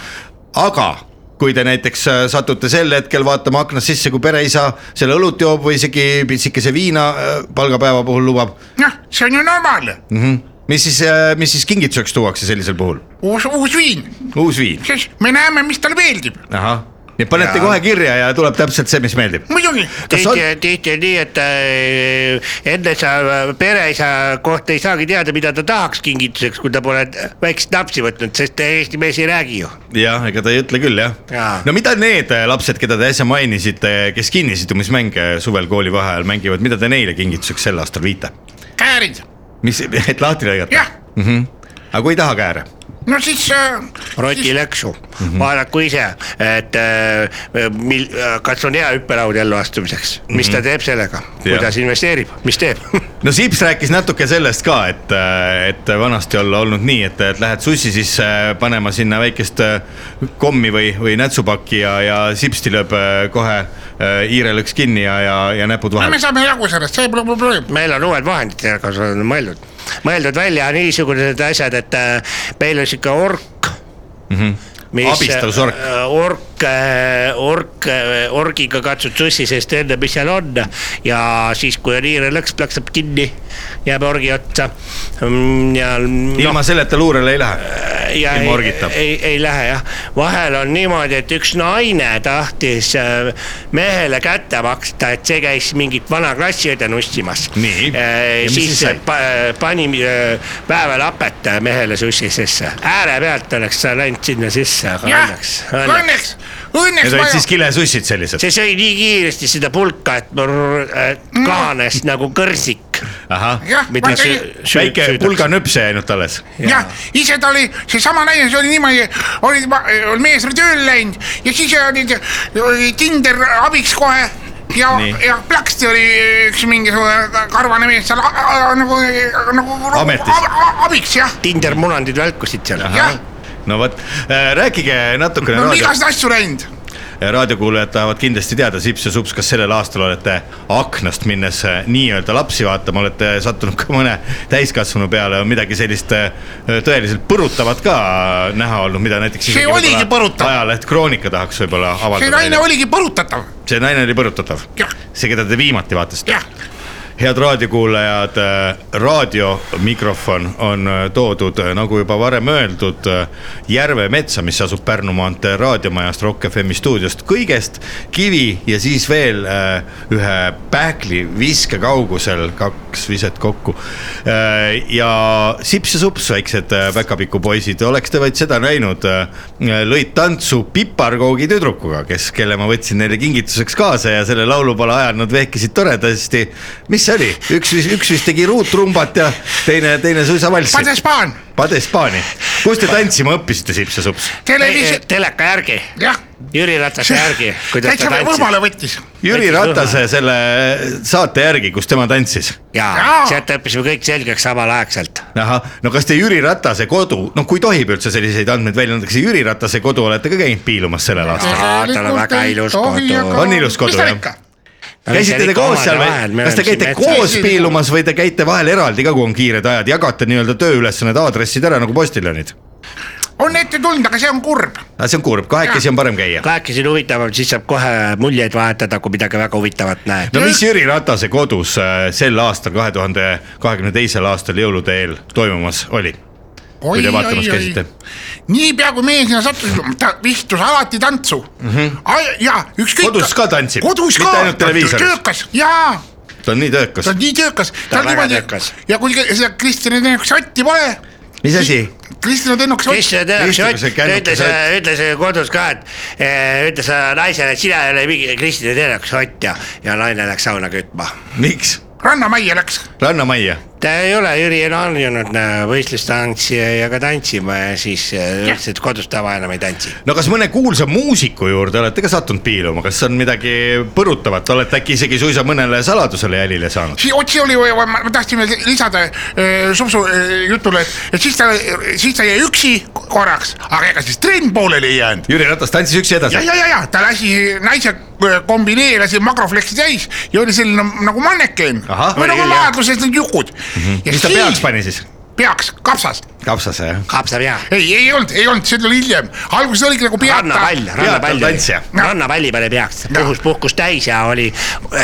Speaker 4: aga kui te näiteks äh, satute sel hetkel vaatama aknast sisse , kui pereisa selle õlut joob või isegi pitsikese viina äh, palgapäeva puhul lubab
Speaker 7: noh , see on ju normaalne ,
Speaker 4: mm . mis siis , mis siis kingituseks tuuakse sellisel puhul ?
Speaker 7: uus , uus viin ,
Speaker 4: uus viin .
Speaker 7: siis me näeme , mis talle meeldib ,
Speaker 4: ahah , nii et panete ja. kohe kirja ja tuleb täpselt see , mis meeldib .
Speaker 7: muidugi .
Speaker 4: Kas
Speaker 8: tihti
Speaker 4: on- ,
Speaker 8: tihti on nii , et äh, enne sa äh, pereisa kohta ei saagi teada , mida ta tahaks kingituseks , kui ta pole väikest napsi võtnud , sest Eesti mees ei räägi ju .
Speaker 4: jah , ega ta ei ütle küll jah
Speaker 8: Jaa.
Speaker 4: no mida need äh, lapsed , keda te äsja mainisite , kes kinnisidumismänge suvel koolivaheajal mängivad , mida te neile kingituseks sel aastal viite ?
Speaker 7: käärid ,
Speaker 4: mis , et lahti lõigata
Speaker 7: jah ?,
Speaker 4: aga kui ei taha kääre ?
Speaker 7: no siis äh,
Speaker 8: roti lõksu mm
Speaker 4: Mhm.
Speaker 8: -hmm. , vaadaku ise , et äh, mil, äh, kas on hea hüppelaud elluastumiseks , mis mm
Speaker 4: Mhm.
Speaker 8: -hmm. ta teeb sellega , kuidas investeerib , mis teeb ? <laughs>
Speaker 4: no Sips rääkis natuke sellest ka , et , et vanasti olla olnud nii , et , et lähed sussi sisse äh, panema sinna väikest äh, kommi või , või nätsupaki ja , ja Sipsti lööb äh, kohe äh, hiirelõks kinni ja , ja , ja näpud
Speaker 7: no me
Speaker 4: vahele .
Speaker 7: saame jagu sellest , see pole probleem .
Speaker 8: meil on uued vahendid , kas on mõeldud , mõeldud välja niisugused asjad , et äh, meil on sihuke ork mm . -hmm
Speaker 4: Mhm. Abistavusork.
Speaker 8: ork , ork , orgiga katsud sussi seest enne , mis seal on ja siis , kui on hiirelõks , plaksab kinni , jääb orgi otsa . ja noh,
Speaker 4: ilma selleta luurele ei lähe .
Speaker 8: Äh, ja
Speaker 4: Ilma
Speaker 8: ei-
Speaker 4: orgita.
Speaker 8: ei , ei lähe jah , vahel on niimoodi , et üks naine tahtis äh, mehele kätte maksta , et see käis mingit vana klassiõde nussimas .
Speaker 4: Nii. Ja mis siis
Speaker 8: siis
Speaker 4: sai?
Speaker 8: pa, pani äh, päevalapet mehele sussi sisse , äärepealt oleks ta läinud sinna sisse , aga
Speaker 7: jah
Speaker 8: õnneks ,, õnneks .
Speaker 7: õnneks , õnneks
Speaker 4: Need olid siis kilesussid sellised .
Speaker 8: see sõi nii kiiresti seda pulka , et mul äh,
Speaker 7: Mm.
Speaker 8: kahanes nagu kõrsik ,
Speaker 4: ahah ,
Speaker 7: jah ,
Speaker 8: mida
Speaker 7: vaata
Speaker 8: söö-
Speaker 7: i-
Speaker 8: söö-
Speaker 4: väike
Speaker 8: söödaks.
Speaker 4: pulga nüpse ainult alles .
Speaker 7: jah , ise ta oli , seesama naine , see oli niimoodi , oli oli mees oli tööle läinud ja siis oli, oli Tinder abiks kohe ja
Speaker 4: Nii. ,
Speaker 7: ja plaksti oli üks mingisugune karvane mees seal a- a- nagu , nagu
Speaker 4: Ametis.
Speaker 7: a- a- abiks jah ,
Speaker 8: Tinder munandid välkusid seal .
Speaker 7: jah ,
Speaker 4: no vot , rääkige natukene
Speaker 7: on
Speaker 4: raadio ,
Speaker 7: igast asju läinud
Speaker 4: Eh, raadiokuulajad tahavad kindlasti teada , Sips ja Sups , kas sellel aastal olete aknast minnes äh, nii-öelda lapsi vaatama , olete sattunud ka mõne täiskasvanu peale , on midagi sellist äh, tõeliselt põrutavat ka eh, näha olnud , mida näiteks
Speaker 7: See
Speaker 4: isegi
Speaker 7: oligi
Speaker 4: võib-olla
Speaker 7: põrutav.
Speaker 4: ajaleht Kroonika tahaks võib-olla
Speaker 7: see naine
Speaker 4: avaldada .
Speaker 7: oligi põrutatav ,
Speaker 4: see naine oli põrutatav
Speaker 7: Jah. ,
Speaker 4: see , keda te viimati vaatasite
Speaker 7: jah .
Speaker 4: head raadiokuulajad , raadiomikrofon on äh, toodud , nagu juba varem öeldud , Järve metsa , mis asub Pärnu maantee raadiomajast Rock FM stuudiost kõigest kivi ja siis veel äh, ühe pähkli viske kaugusel , kaks viset kokku . Äh, ja Sips ja Sups , väiksed äh, päkapiku poisid , oleks te vaid seda näinud , lõid tantsu piparkoogi tüdrukuga , kes , kelle ma võtsin neile kingituseks kaasa ja selle laulupala ajal nad vehkisid toredasti . mis see oli , üks , üks vist tegi ruutrumbat ja teine , teine suisa valssi .
Speaker 7: Padespaan ,
Speaker 4: Padespaani , kus te tantsima õppisite , Sips ja Sups ?
Speaker 7: televiis- ,
Speaker 8: teleka järgi
Speaker 7: jah ,
Speaker 8: Jüri Ratase Eh, järgi , kuidas ta
Speaker 7: täitsa
Speaker 8: tantsis
Speaker 7: võimale võttis
Speaker 4: Jüri
Speaker 8: Väikse
Speaker 4: Ratase selle saate järgi , kus tema tantsis .
Speaker 8: ja
Speaker 7: Jaa.
Speaker 8: sealt õppisime kõik selgeks samalaegselt .
Speaker 4: ahah , no kas te Jüri Ratase kodu , noh , kui tohib üldse selliseid andmeid välja anda , kas te Jüri Ratase kodu olete ka käinud piilumas sellel aastal ?
Speaker 8: tal on väga ilus
Speaker 7: Tohi
Speaker 8: kodu.
Speaker 7: aga-
Speaker 4: On ilus kodu,
Speaker 7: mis tal
Speaker 4: jah?
Speaker 7: ikka?
Speaker 4: käisite te koos seal või , kas te käite koos piilumas või te käite vahel eraldi ka , kui on kiired ajad , jagate nii-öelda tööülesanded , aadressid ära nagu postiljonid ?
Speaker 7: on ette tulnud , aga see on kurb
Speaker 4: aga see on kurb , kahekesi on parem käia .
Speaker 8: kahekesi on huvitavam , siis saab kohe muljeid vahetada , kui midagi väga huvitavat näed .
Speaker 4: no mis Jüri Ratase kodus äh, sel aastal , kahe tuhande kahekümne teisel aastal jõulude eel toimumas oli ?
Speaker 7: Oi,
Speaker 4: te vaatamas
Speaker 7: oi, oi.
Speaker 4: käisite?
Speaker 7: niipea kui mees sinna sattus , ta vihtus alati tantsu mm . -hmm. ja ükskõik .
Speaker 4: Mhm. Kodus ka tantsib,
Speaker 7: kodus
Speaker 4: mitte
Speaker 7: ka
Speaker 4: ainult televiisoris.
Speaker 7: töökas ja
Speaker 4: ta on nii töökas
Speaker 7: ta on . nii töökas .
Speaker 8: on väga töökas.
Speaker 7: ja kui ke- seda Kristjani Tennukese otti pole .
Speaker 4: mis asi ?
Speaker 7: Kristjani Tennukese otti .
Speaker 8: Kristjan Tõnaks
Speaker 4: Kristjan,
Speaker 8: Ott
Speaker 4: see kännukas
Speaker 8: ütles
Speaker 4: Ott. ,
Speaker 8: ütles kodus ka , et eh, ütles äh, naisele , et sina ei ole mingi Kristjan Tõnaks Ott ja , ja naine läks sauna kütma .
Speaker 4: miks ?
Speaker 7: rannamajja läks .
Speaker 4: rannamajja .
Speaker 8: ta ei ole , Jüri on harjunud äh, võistlustantsija ja ka tantsima ja siis äh, ütles , et kodus tava enam ei tantsi .
Speaker 4: no kas mõne kuulsa muusiku juurde olete ka sattunud piiluma , kas on midagi põrutavat , olete äkki isegi suisa mõnele saladusele jälile saanud ?
Speaker 7: otsi oli , ma ma tahtsin veel lisada eh, Supsu eh, jutule , et siis ta , siis ta jäi üksi korraks , aga ega siis trenn pooleli ei jäänud .
Speaker 4: Jüri Ratas tantsis üksi edasi
Speaker 7: ja ,. ja , ja , ja ta lasi naise kombineerida , lasi makrofleksi täis ja oli selline nagu manneken
Speaker 4: Ahah,
Speaker 7: või
Speaker 4: oli
Speaker 7: nagu
Speaker 4: küll, jah. Mhm.
Speaker 7: maadluses need jukud mm .
Speaker 4: mis ta peaks pani siis ?
Speaker 7: peaks , kapsas ,
Speaker 4: kapsase jah ?
Speaker 8: kapsab jah
Speaker 7: ei , ei olnud , ei olnud , see tuli hiljem , alguses oligi nagu peata .
Speaker 8: rannapall , rannapall
Speaker 4: Peatav tantsija. ,
Speaker 8: rannapalli pani peaks , puhkus , puhkus täis ja oli ,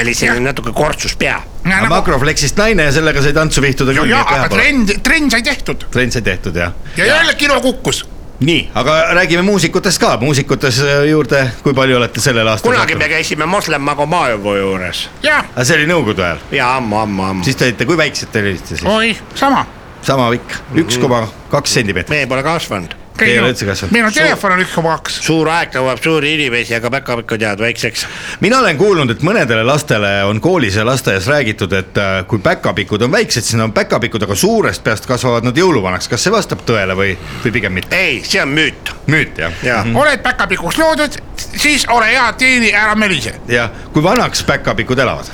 Speaker 8: oli selline natuke kortsus pea .
Speaker 4: Nagu... makrofleksist naine ja sellega sai tantsu vihtuda küll , nii
Speaker 7: ja ,
Speaker 4: et vähe
Speaker 7: aga
Speaker 4: pole .
Speaker 7: trenn , trenn sai tehtud
Speaker 4: trenn sai tehtud jah .
Speaker 7: ja jälle kilo kukkus .
Speaker 4: nii , aga räägime muusikutest ka , muusikutes äh, juurde , kui palju olete sellel aastal
Speaker 8: kunagi me käisime Moslem Magomajevo juures
Speaker 7: jah ,
Speaker 4: aga see oli nõukogude ajal ,
Speaker 8: ja ammu-ammu-ammu ,
Speaker 4: siis te olite , kui väiksed te olite siis ?
Speaker 7: oi , sama ,
Speaker 4: sama pikk , üks koma kaks sentimeetrit .
Speaker 8: meie pole kasvanud .
Speaker 4: Ei ole üldse kasvanud.
Speaker 7: meil on telefon on ikka paks .
Speaker 8: suur aeg nõuab suuri inimesi , aga päkapikud jäävad väikseks .
Speaker 4: mina olen kuulnud , et mõnedele lastele on koolis ja lasteaias räägitud , et äh, kui päkapikud on väiksed , siis nad on päkapikud , aga suurest peast kasvavad nad jõuluvanaks . kas see vastab tõele või , või pigem mitte ?
Speaker 8: ei , see on müüt .
Speaker 4: müüt jah ?
Speaker 8: jaa ,
Speaker 7: oled päkapikuks loodud , siis ole hea , teeni ära melise .
Speaker 4: jah , kui vanaks päkapikud elavad ?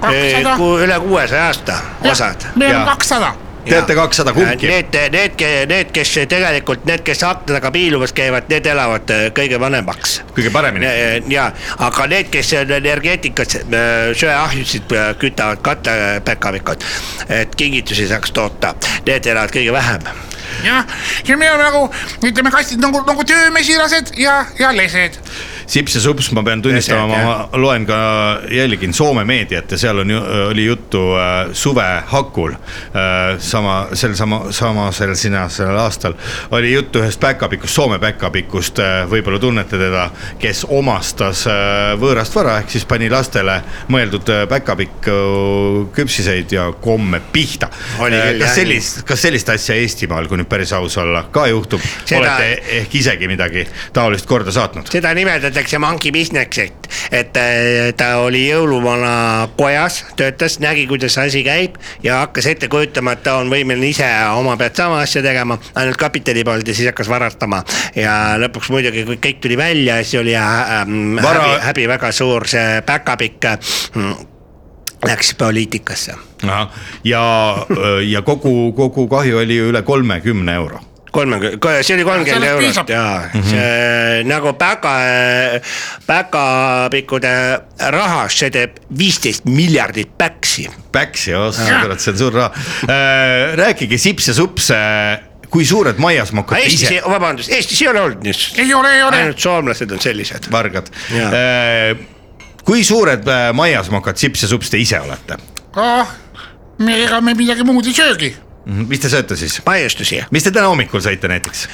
Speaker 7: kakssada ,
Speaker 8: üle kuuesaja aasta osad .
Speaker 7: meil on
Speaker 4: jaa.
Speaker 7: kakssada .
Speaker 4: teate kakssada kumbki ?
Speaker 8: Need , need , need , kes tegelikult , need , kes akna taga piilumas käivad , need elavad äh, kõige vanemaks .
Speaker 4: kõige paremini .
Speaker 8: ja , aga need , kes on energeetikas , söeahjusid äh, kütavad katlapäkapikud , et kingitusi saaks toota , need elavad kõige vähem .
Speaker 7: jah , ja meil on nagu ütleme , kastid nagu , nagu töömesilased ja , ja lesed .
Speaker 4: Sips ja Sups , ma pean tunnistama ,
Speaker 8: Tõsi,
Speaker 4: ma loen ka , jälgin Soome meediat ja seal on , oli juttu äh, suvehakul äh, sama , sel sama , samasel sina , sellel aastal oli juttu ühest päkapikust , Soome päkapikust , võib-olla tunnete teda , kes omastas äh, võõrast vara , ehk siis pani lastele mõeldud äh, päkapiku küpsiseid ja komme pihta .
Speaker 8: Oli küll, jah.
Speaker 4: kas sellist , kas sellist asja Eestimaal , kui nüüd päris aus olla , ka juhtub
Speaker 8: Seda-
Speaker 4: Seda... ? olete ehk isegi midagi taolist korda saatnud ?
Speaker 8: seda nimetatakse monkey business'iks , et äh, ta oli jõuluvana kojas , töötas , nägi , kuidas see asi käib ja hakkas ette kujutama , et ta on võimeline ise oma pealt sama asja tegema , ainult kapitali polnud ja siis hakkas varastama . ja lõpuks muidugi , kui kõik tuli välja , siis oli äh, ähm,
Speaker 4: Vara-
Speaker 8: häbi , häbi väga suur , see päkapikk mm, läks poliitikasse ,
Speaker 4: ahah , ja , ja kogu , kogu kahju oli ju üle kolmekümne euro .
Speaker 8: kolmekümne , see oli kolmkümmend
Speaker 7: Sellest
Speaker 8: eurot
Speaker 7: piisab.
Speaker 8: ja
Speaker 4: Mhm.
Speaker 8: see nagu päka , päkapikkude rahas , see teeb viisteist miljardit päksi .
Speaker 4: Päksi , kurat , see on suur raha . rääkige sips ja sups , kui suured maiasmokad te
Speaker 8: Eestis
Speaker 4: ise ,
Speaker 8: vabandust , Eestis ei ole olnud niisugust ,
Speaker 7: ei ole , ei ole .
Speaker 8: ainult soomlased on sellised .
Speaker 4: vargad Äh,
Speaker 8: Jaa. .
Speaker 4: kui suured äh, maiasmokad sips ja sups te ise olete ?
Speaker 7: ah , me , ega me midagi muud ei söögi .
Speaker 4: Mhm, mis te sööte siis ?
Speaker 8: maiustusi ,
Speaker 4: mis te täna hommikul sõite näiteks ?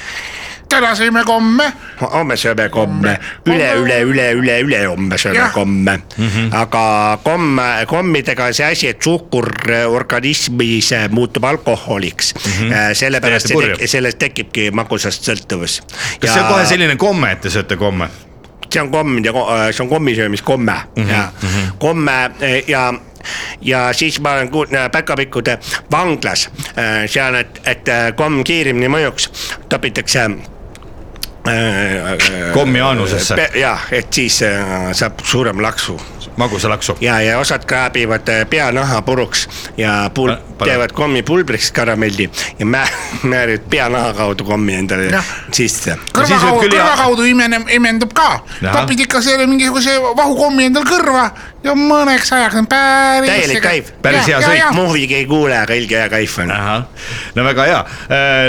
Speaker 7: täna sõime komme ,
Speaker 8: homme sööme komme , üle , üle , üle , üle , ülehomme sööme
Speaker 7: Jah.
Speaker 8: komme .
Speaker 4: Mhm.
Speaker 8: aga komm , kommidega on see asi , et suhkur äh, organismis äh, muutub alkoholiks mm . -hmm. sellepärast
Speaker 4: Mhm. Täiesti
Speaker 8: see
Speaker 4: purju.
Speaker 8: tek- sellest tekibki magusast sõltuvus .
Speaker 4: kas see on kohe selline komme , et te sööte komme ?
Speaker 8: see on komm ja ko- see on kommisöömiskomme mm
Speaker 4: Mhm,
Speaker 8: -hmm. ja komme eh, ja , ja siis ma olen kuulnud päkapikkude vanglas eh, seal , et , et eh, komm kiiremini mõjuks , äh, topitakse .
Speaker 4: Kommi aanusesse.
Speaker 8: äh, jah , et siis eh, saab suurem laksu
Speaker 4: magusalaksu ?
Speaker 8: ja , ja osad kraabivad eh, peanaha puruks ja pul-
Speaker 4: Pa- , pane-
Speaker 8: teevad kommi pulbriks karamelli ja mä- , määrivad peanaha kaudu kommi endale
Speaker 7: Jah.
Speaker 8: sisse .
Speaker 7: kõrva
Speaker 4: siis võib
Speaker 7: kaudu ,
Speaker 4: küll
Speaker 7: kõrva
Speaker 4: jah-
Speaker 7: kaudu imeneb , imendub ka .
Speaker 4: Ahah.
Speaker 7: topid ikka selle mingisuguse vahukommi endal kõrva ja mõneks ajaks on päris .
Speaker 8: Täielik kaif.
Speaker 4: Päris hea sõit. Jah.
Speaker 8: muhvigi ei kuule , aga ilge hea kaif on .
Speaker 4: ahah , no väga hea ,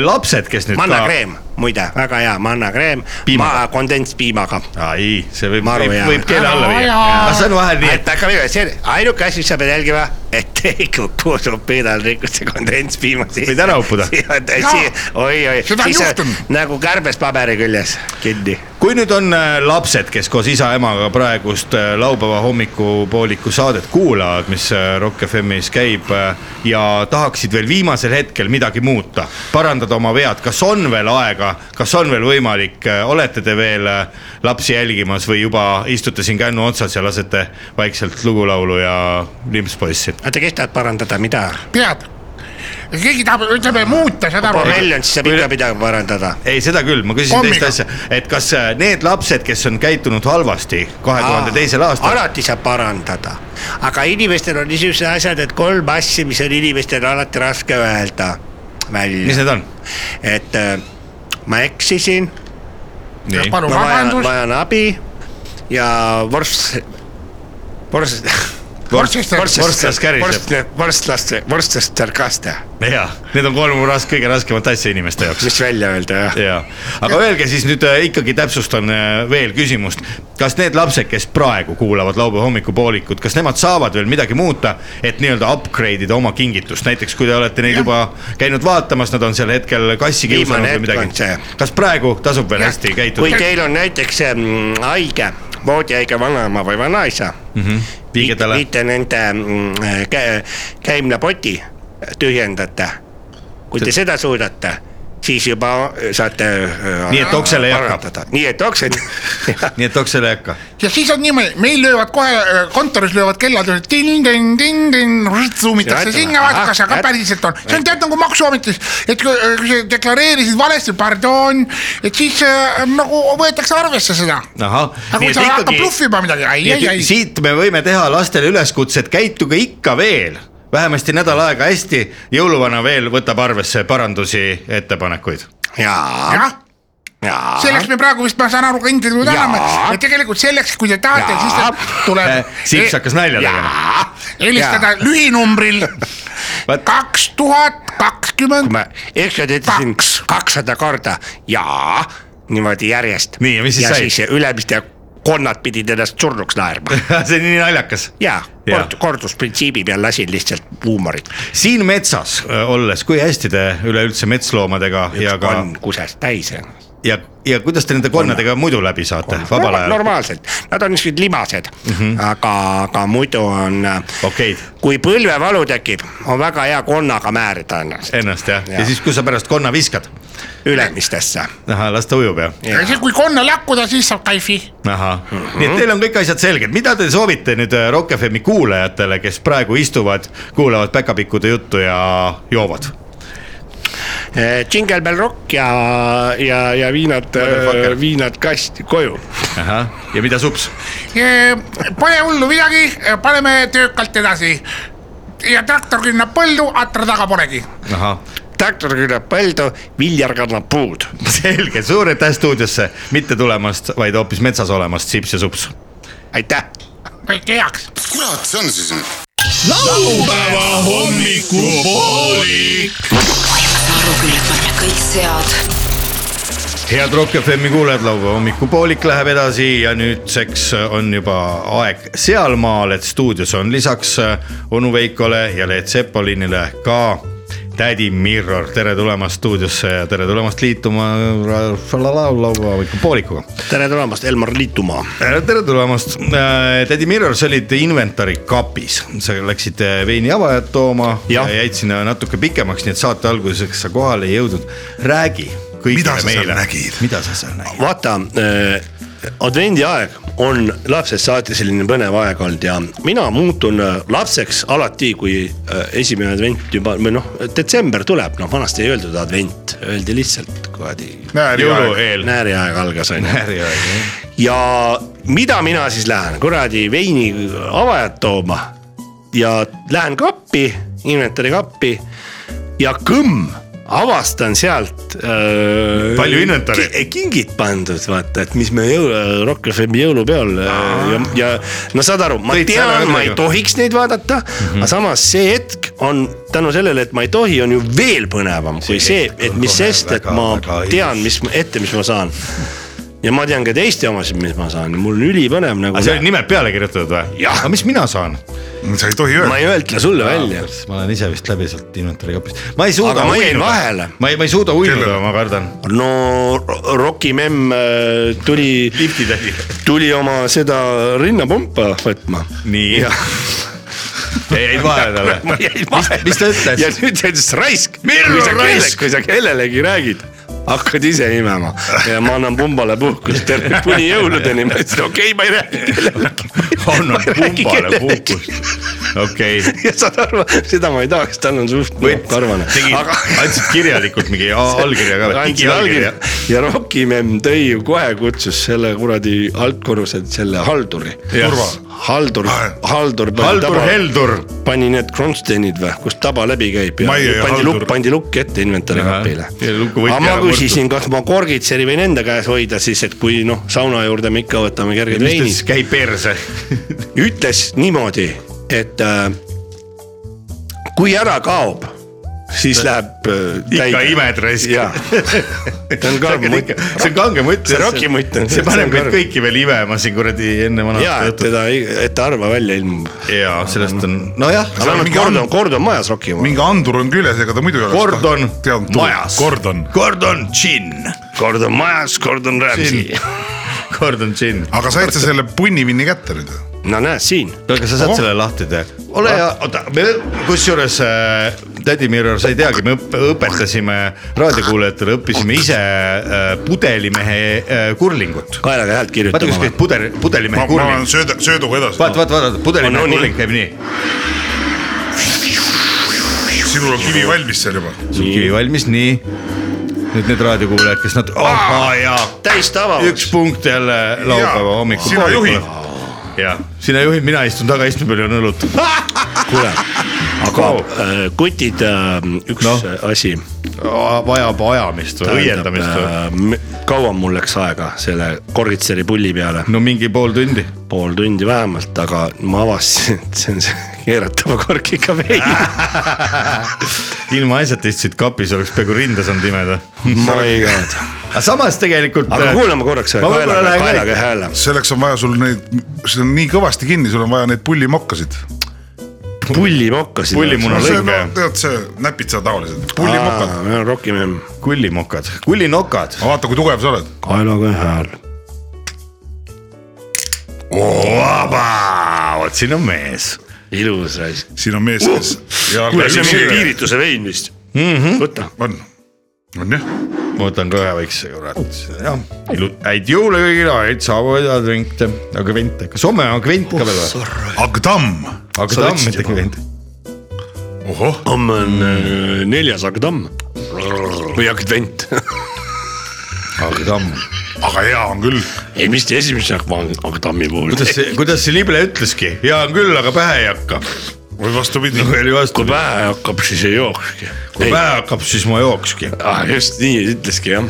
Speaker 4: lapsed , kes nüüd ka
Speaker 8: mannakreem , muide , väga hea mannakreem ,
Speaker 4: Piimaga.
Speaker 8: kondentspiimaga .
Speaker 4: ai , see võib ,
Speaker 8: Maru
Speaker 4: võib ,
Speaker 8: hea.
Speaker 4: võib keele alla viia ,
Speaker 7: Jaa.
Speaker 4: aga see on vahel nii , et
Speaker 8: et hakkab iga , see on ainuke asi , mis sa pead jälgima , et ei kuku su pidal rikud see kondentspiima sisse .
Speaker 4: Võid ära
Speaker 8: <laughs>
Speaker 4: uppuda.
Speaker 8: oi-oi ,
Speaker 7: Seda on
Speaker 8: siis on
Speaker 7: juhtunud.
Speaker 8: nagu kärbes paberi küljes kinni .
Speaker 4: kui nüüd on äh, lapsed , kes koos isa-emaga praegust äh, laupäeva hommikupooliku saadet kuulavad , mis äh, Rock FM-is käib äh, ja tahaksid veel viimasel hetkel midagi muuta , parandada oma vead , kas on veel aega , kas on veel võimalik , olete te veel äh, lapsi jälgimas või juba istute siin kännu otsas ja lasete vaikselt lugulaulu ja limpspoissi ?
Speaker 8: oota , kes tahab parandada , mida ?
Speaker 7: pead , keegi tahab , ütleme muuta , saad aru .
Speaker 8: Borrelli on , siis saab ikka midagi parandada .
Speaker 4: ei , seda küll , ma küsisin
Speaker 7: Hommiga.
Speaker 4: teist asja , et kas äh, need lapsed , kes on käitunud halvasti kahe tuhande teisel aastal ,
Speaker 8: alati saab parandada , aga inimestel on niisugused asjad , et kolm asja , mis on inimestel alati raske öelda välja .
Speaker 4: mis need on ?
Speaker 8: et äh, ma eksisin ,
Speaker 4: nii ,
Speaker 7: palun
Speaker 8: ma vajan ,
Speaker 7: vabandust ,
Speaker 8: vajan abi ja vorst , vorst ,
Speaker 7: Worcester ,
Speaker 4: Vorstlas käriseb.
Speaker 8: vorstlaste , vorstlaster kaste ,
Speaker 4: jaa , need on kolm ras- , kõige raskemat asja inimeste jaoks .
Speaker 8: mis välja öelda jah .
Speaker 4: jaa , aga öelge siis nüüd äh, ikkagi täpsustan äh, veel küsimust , kas need lapsed , kes praegu kuulavad laupäeva hommikupoolikut , kas nemad saavad veel midagi muuta , et nii-öelda upgrade ida oma kingitust , näiteks kui te olete neid juba käinud vaatamas , nad on sel hetkel kassi
Speaker 8: Viimane
Speaker 4: kiusanud või
Speaker 8: hetk on
Speaker 4: midagi
Speaker 8: see. ,
Speaker 4: kas praegu tasub veel
Speaker 7: Jah.
Speaker 4: hästi käituda
Speaker 8: kui ? teil on näiteks mm, haige , voodihaige vanaema või vanaisa mm ,
Speaker 4: Mhm.
Speaker 8: -hmm.
Speaker 4: Viige talle.
Speaker 8: viite nende mm, kä- käimlapoti , tühjendate . kui te seda suudate , siis juba saate äh,
Speaker 4: Nii et oksele ei hakka.
Speaker 8: parandada. nii et oksed <laughs>
Speaker 4: nii et oksele ei hakka .
Speaker 7: ja siis on niimoodi , meil löövad kohe , kontoris löövad kellad , ting-ting-ting-ting , summitakse
Speaker 8: Ja
Speaker 7: sinna ,
Speaker 8: ahah,
Speaker 7: vaata kas see ka
Speaker 8: et-
Speaker 7: päriselt on . see on tead nagu maksuametis , et kui äh, kui sa deklareerisid valesti , pardon , et siis äh, nagu võetakse arvesse seda .
Speaker 4: ahah ,
Speaker 7: aga kui sa hakkad bluffima midagi , ai ,
Speaker 4: nii
Speaker 7: ai ,
Speaker 4: et
Speaker 7: ai .
Speaker 4: siit me võime teha lastele üleskutse , et käituge ikka veel vähemasti nädal aega hästi , jõuluvana veel võtab arvesse parandusi , ettepanekuid .
Speaker 8: ja ,
Speaker 7: jah ,
Speaker 8: ja .
Speaker 7: selleks me praegu vist , ma saan aru , ka nagu intervjuud
Speaker 8: Jaa. Äh,
Speaker 7: anname ja tegelikult selleks , kui te tahate , siis te- tuleb e-
Speaker 4: Sips Äh, hakkas nalja tegema . <laughs>
Speaker 7: helistada
Speaker 8: <laughs>
Speaker 7: lühinumbril
Speaker 4: Vaat-
Speaker 7: kaks tuhat kakskümmend
Speaker 8: kui ma ükskord ütlesin kakssada korda ja niimoodi järjest .
Speaker 4: Nii, ja mis siis
Speaker 8: ja
Speaker 4: sai?
Speaker 8: siis Ülemiste konnad pidid ennast surnuks naerma
Speaker 4: <laughs> see on nii naljakas .
Speaker 8: ja
Speaker 4: Jaa.
Speaker 8: kord, kordusprintsiibi peal lasin lihtsalt huumorit .
Speaker 4: siin metsas öö, olles , kui hästi te üleüldse metsloomadega ja ka
Speaker 8: on kusest täis ennast .
Speaker 4: ja , ja kuidas te nende konnadega muidu läbi saate , vabal ajal ?
Speaker 8: normaalselt , nad on niisugused limased mm , -hmm. aga , aga muidu on .
Speaker 4: Okeid.
Speaker 8: kui põlvevalu tekib , on väga hea konnaga määrida ennast
Speaker 4: Ennast jah , ja
Speaker 8: Jaa.
Speaker 4: siis , kui sa pärast konna viskad ,
Speaker 8: Ülemistesse .
Speaker 4: ahah , las ta ujub jah
Speaker 7: ja siis , kui konna lakkuda , siis saab kaifi .
Speaker 4: ahah , nii et teil on kõik asjad selged , mida te soovite nüüd äh, Rock FM-i kuulajatele , kes praegu istuvad , kuulavad päkapikkude juttu ja joovad ?
Speaker 8: Eh, Jingle Bell Rock ja , ja , ja viinad ,
Speaker 4: Motherfucker.
Speaker 8: viinad kasti koju .
Speaker 4: ahah , ja mida sups ?
Speaker 7: Pole hullu midagi , paneme töökalt edasi . ja traktor künnab põldu , atra taga polegi .
Speaker 4: ahah ,
Speaker 8: traktor küllab põldu , Viljar kannab puud .
Speaker 4: <laughs> selge , suur aitäh stuudiosse mitte tulemast , vaid hoopis metsas olemast , Sips ja Sups .
Speaker 8: aitäh .
Speaker 7: kõike heaks .
Speaker 6: kurat , see on siis nüüd ?
Speaker 1: laupäeva hommikupoolik .
Speaker 9: aru küll , et me oleme kõik sead .
Speaker 4: head Rock FM-i kuulajad , laupäeva hommikupoolik läheb edasi ja nüüdseks on juba aeg sealmaal , et stuudios on lisaks äh, onu Veikole ja Leet Sepolinile ka tädi Mirror , tere tulemast stuudiosse ja tere tulemast liituma ra- la- la- laupäeva hommikupoolikuga .
Speaker 8: tere tulemast , Elmar Liitumaa .
Speaker 4: tere tulemast , tädi Mirror , sa olid inventari kapis , sa läksid äh, veini avajat tooma ja.
Speaker 8: Jah.
Speaker 4: ja jäid sinna natuke pikemaks , nii et saate alguseks sa kohale ei jõudnud , räägi .
Speaker 6: Mida sa seal nägid?
Speaker 4: mida sa seal nägid ?
Speaker 8: vaata äh, , advendiaeg on lapsest saati selline põnev aeg olnud ja mina muutun äh, lapseks alati , kui äh, esimene advent juba või noh , detsember tuleb , noh vanasti ei öeldud advent , öeldi lihtsalt kuradi .
Speaker 4: jõulu eel .
Speaker 8: nääriaeg algas onju .
Speaker 4: nääriaeg jah .
Speaker 8: ja mida mina siis lähen kuradi veini avajat tooma ja lähen kappi , inventari kappi ja kõmm avastan sealt äh, .
Speaker 4: Palju inventari?
Speaker 8: kingid pandud , vaata , et mis me jõulu , Rock FM-i jõulupeol äh, ja , ja no saad aru , ma
Speaker 4: Tõid sa ära Mhm.
Speaker 8: tean , ma ei
Speaker 4: midagi?
Speaker 8: tohiks neid vaadata mm , -hmm. aga samas see hetk on tänu sellele , et ma ei tohi , on ju veel põnevam kui see ,
Speaker 4: hetk
Speaker 8: et
Speaker 4: on
Speaker 8: mis
Speaker 4: kohe
Speaker 8: sest , et
Speaker 4: väga-
Speaker 8: ma
Speaker 4: väga ilus.
Speaker 8: tean , mis ma- ette , mis ma saan ja ma tean ka teiste omasid , mis ma saan , mul on ülipõnev nagu
Speaker 4: aga seal olid . nimed peale kirjutatud või ?
Speaker 8: Jah.
Speaker 4: aga mis mina saan ?
Speaker 5: sa ei tohi
Speaker 8: ma
Speaker 5: öelda ,
Speaker 8: ei öeltle sulle välja .
Speaker 4: ma olen ise vist läbi sealt inventari kapist . ma ei suuda
Speaker 8: Aga ma jäin vahele.
Speaker 4: ma ei , ma ei suuda uinuda
Speaker 5: Kellele? ,
Speaker 4: ma kardan .
Speaker 8: no Ro- Rocki memm äh, tuli ,
Speaker 4: liftitädi .
Speaker 8: tuli oma seda rinnapumpa võtma .
Speaker 4: nii . <laughs> jäid vahele talle . mis ta ütles?
Speaker 8: ja nüüd ta ütles raisk .
Speaker 4: Mirro raisk!
Speaker 8: kui sa kellelegi räägid , hakkad ise imema ja ma annan pumbale puhkust <laughs> terve kuni jõuludeni , ma ütlesin okei okay, , ma ei räägi kellelegi .
Speaker 4: annan
Speaker 6: <laughs>
Speaker 4: pumbale
Speaker 8: puhkust .
Speaker 4: puhkust . okei okay.
Speaker 8: <laughs> ja saad aru , seda ma ei tahaks , tal on suht
Speaker 4: Võt-
Speaker 8: karvane .
Speaker 4: tegid aga... , andsid kirjalikult mingi a- allkirja ka või ?
Speaker 8: andsin allkirja . ja Rocki memm tõi ju kohe kutsus selle kuradi altkorrusel selle halduri . haldur , haldur .
Speaker 4: Haldur Heldur .
Speaker 8: pani need Kronsteinid või , kust taba läbi käib ja
Speaker 5: Maie ja
Speaker 8: pandi
Speaker 5: Haldur.
Speaker 8: lukk , pandi lukk ette inventari
Speaker 4: Ahah.
Speaker 8: kapile
Speaker 4: Ja luku võti
Speaker 8: aga ma
Speaker 4: ära
Speaker 8: küsisin , kas ma korgitseri võin enda käes hoida siis , et kui noh , sauna juurde me ikka võtame kerged
Speaker 4: mis ta
Speaker 8: veinid
Speaker 4: siis . käib perse ?
Speaker 8: ütles niimoodi , et äh, kui ära kaob , siis läheb äh,
Speaker 4: ikka
Speaker 8: täide.
Speaker 4: imedresk .
Speaker 8: Jaa. ta on karm mutt .
Speaker 4: <laughs> see on kange mutt .
Speaker 8: See rokimutt on-
Speaker 4: see
Speaker 8: see
Speaker 4: paneb
Speaker 8: on
Speaker 4: meid
Speaker 8: karm.
Speaker 4: kõiki veel imema siin kuradi enne vana
Speaker 8: ja , et teda , et ta harva välja ilmub .
Speaker 4: ja sellest on , nojah ,
Speaker 8: aga vähemalt
Speaker 5: mingi
Speaker 8: kord
Speaker 5: and-
Speaker 8: on , kord on majas Rocki oma .
Speaker 5: mingi andur on küljes , ega ta muidu ei oleks .
Speaker 4: kord on
Speaker 5: teadnud .
Speaker 4: majas ,
Speaker 5: kord on ,
Speaker 4: kord on džinn ,
Speaker 8: kord on majas , kord on rääbsi .
Speaker 4: <laughs> kord on džinn .
Speaker 5: aga said sa selle punnivinni kätte nüüd ?
Speaker 8: no näed siin ,
Speaker 4: kuule , kas sa saad selle lahti teha ? ole hea , oota , me kusjuures äh, tädi Mirror , sa ei teagi , me õp- õpetasime raadiokuulajatele , õppisime ise äh, pudelimehe äh, kurlingut .
Speaker 8: kaelaga häält
Speaker 4: vaata ,
Speaker 8: kirjutama
Speaker 4: kuidas
Speaker 8: või
Speaker 4: käib ? pudel ,
Speaker 5: ma
Speaker 4: pudelimehe ,
Speaker 5: ma olen
Speaker 4: kurling .
Speaker 5: sööda , sööduga edasi .
Speaker 4: vaata , vaata , vaata ,
Speaker 8: On-
Speaker 4: pudelimehe
Speaker 8: on nii?
Speaker 4: kurling käib nii .
Speaker 5: sinul on kivi valmis seal juba .
Speaker 4: sul kivi valmis , nii . nüüd need raadiokuulajad , kes nad oh, , jaa ,
Speaker 8: täis tavavaks
Speaker 4: üks . punkt jälle laupäeva
Speaker 5: Jaa,
Speaker 4: hommikul .
Speaker 5: sina juhid. .
Speaker 4: jah , sina juhid , mina istun tagaistme peal ja nõlutan .
Speaker 8: kuule , aga
Speaker 4: Wow.
Speaker 8: äh, kutid , üks
Speaker 4: Noh.
Speaker 8: äh, asi .
Speaker 4: vajab ajamist või õiendamist või ?
Speaker 8: äh. kaua mul läks aega selle Korgitseri pulli peale ?
Speaker 4: no mingi pool
Speaker 8: <laughs>
Speaker 4: tundi .
Speaker 8: pool tundi vähemalt , aga ma avastasin , et see on see keeratava korkiga vein .
Speaker 4: ilma asjata istusid kapis , oleks peaaegu rinda saanud imeda .
Speaker 8: my god .
Speaker 4: aga samas tegelikult . äh,
Speaker 8: aga kuulame korraks
Speaker 4: ma võib-olla
Speaker 8: kaelaga ,
Speaker 4: lähen
Speaker 8: kaelaga
Speaker 4: ka .
Speaker 8: hääle .
Speaker 5: selleks on vaja sul neid , see on nii kõvasti kinni , sul on vaja neid pullimokkasid .
Speaker 8: pullimokkasid .
Speaker 4: Pullimuna
Speaker 5: no see ,
Speaker 4: lõige.
Speaker 5: no tead see näpitsa taolised , pullimokad .
Speaker 8: rokime
Speaker 4: kullimokad , kullinokad .
Speaker 5: vaata , kui tugev sa oled .
Speaker 8: kaelaga hääl .
Speaker 4: vaba , vot siin on mees .
Speaker 8: ilus raisk .
Speaker 5: siin on mees , kes .
Speaker 8: kuule , see on mingi piirituse vein vist . võta .
Speaker 5: on , on jah .
Speaker 4: ma võtan ka ühe väikse kurat . jah , häid jõule kõigile , häid saabuvaid ja kvinte , aga kvinte , kas homme on kvint ka
Speaker 8: Oh,
Speaker 4: veel või ?
Speaker 5: Agdam ,
Speaker 4: aga ta on mitte kvint .
Speaker 5: ohoh ,
Speaker 8: homme on äh, neljas Agdamm või Agvent .
Speaker 4: aga ta on .
Speaker 5: aga hea on küll .
Speaker 8: ei , mis te esimese Agva- Agdammi puhul .
Speaker 4: kuidas see , kuidas see lible ütleski , hea on küll , aga pähe ei hakka .
Speaker 5: või vastupidi ,
Speaker 4: nagu oli vastu
Speaker 8: kui . pähe hakkab , siis ei jookski .
Speaker 4: kui pähe hakkab , siis ma jookski .
Speaker 8: Ah, just nii ütleski jah .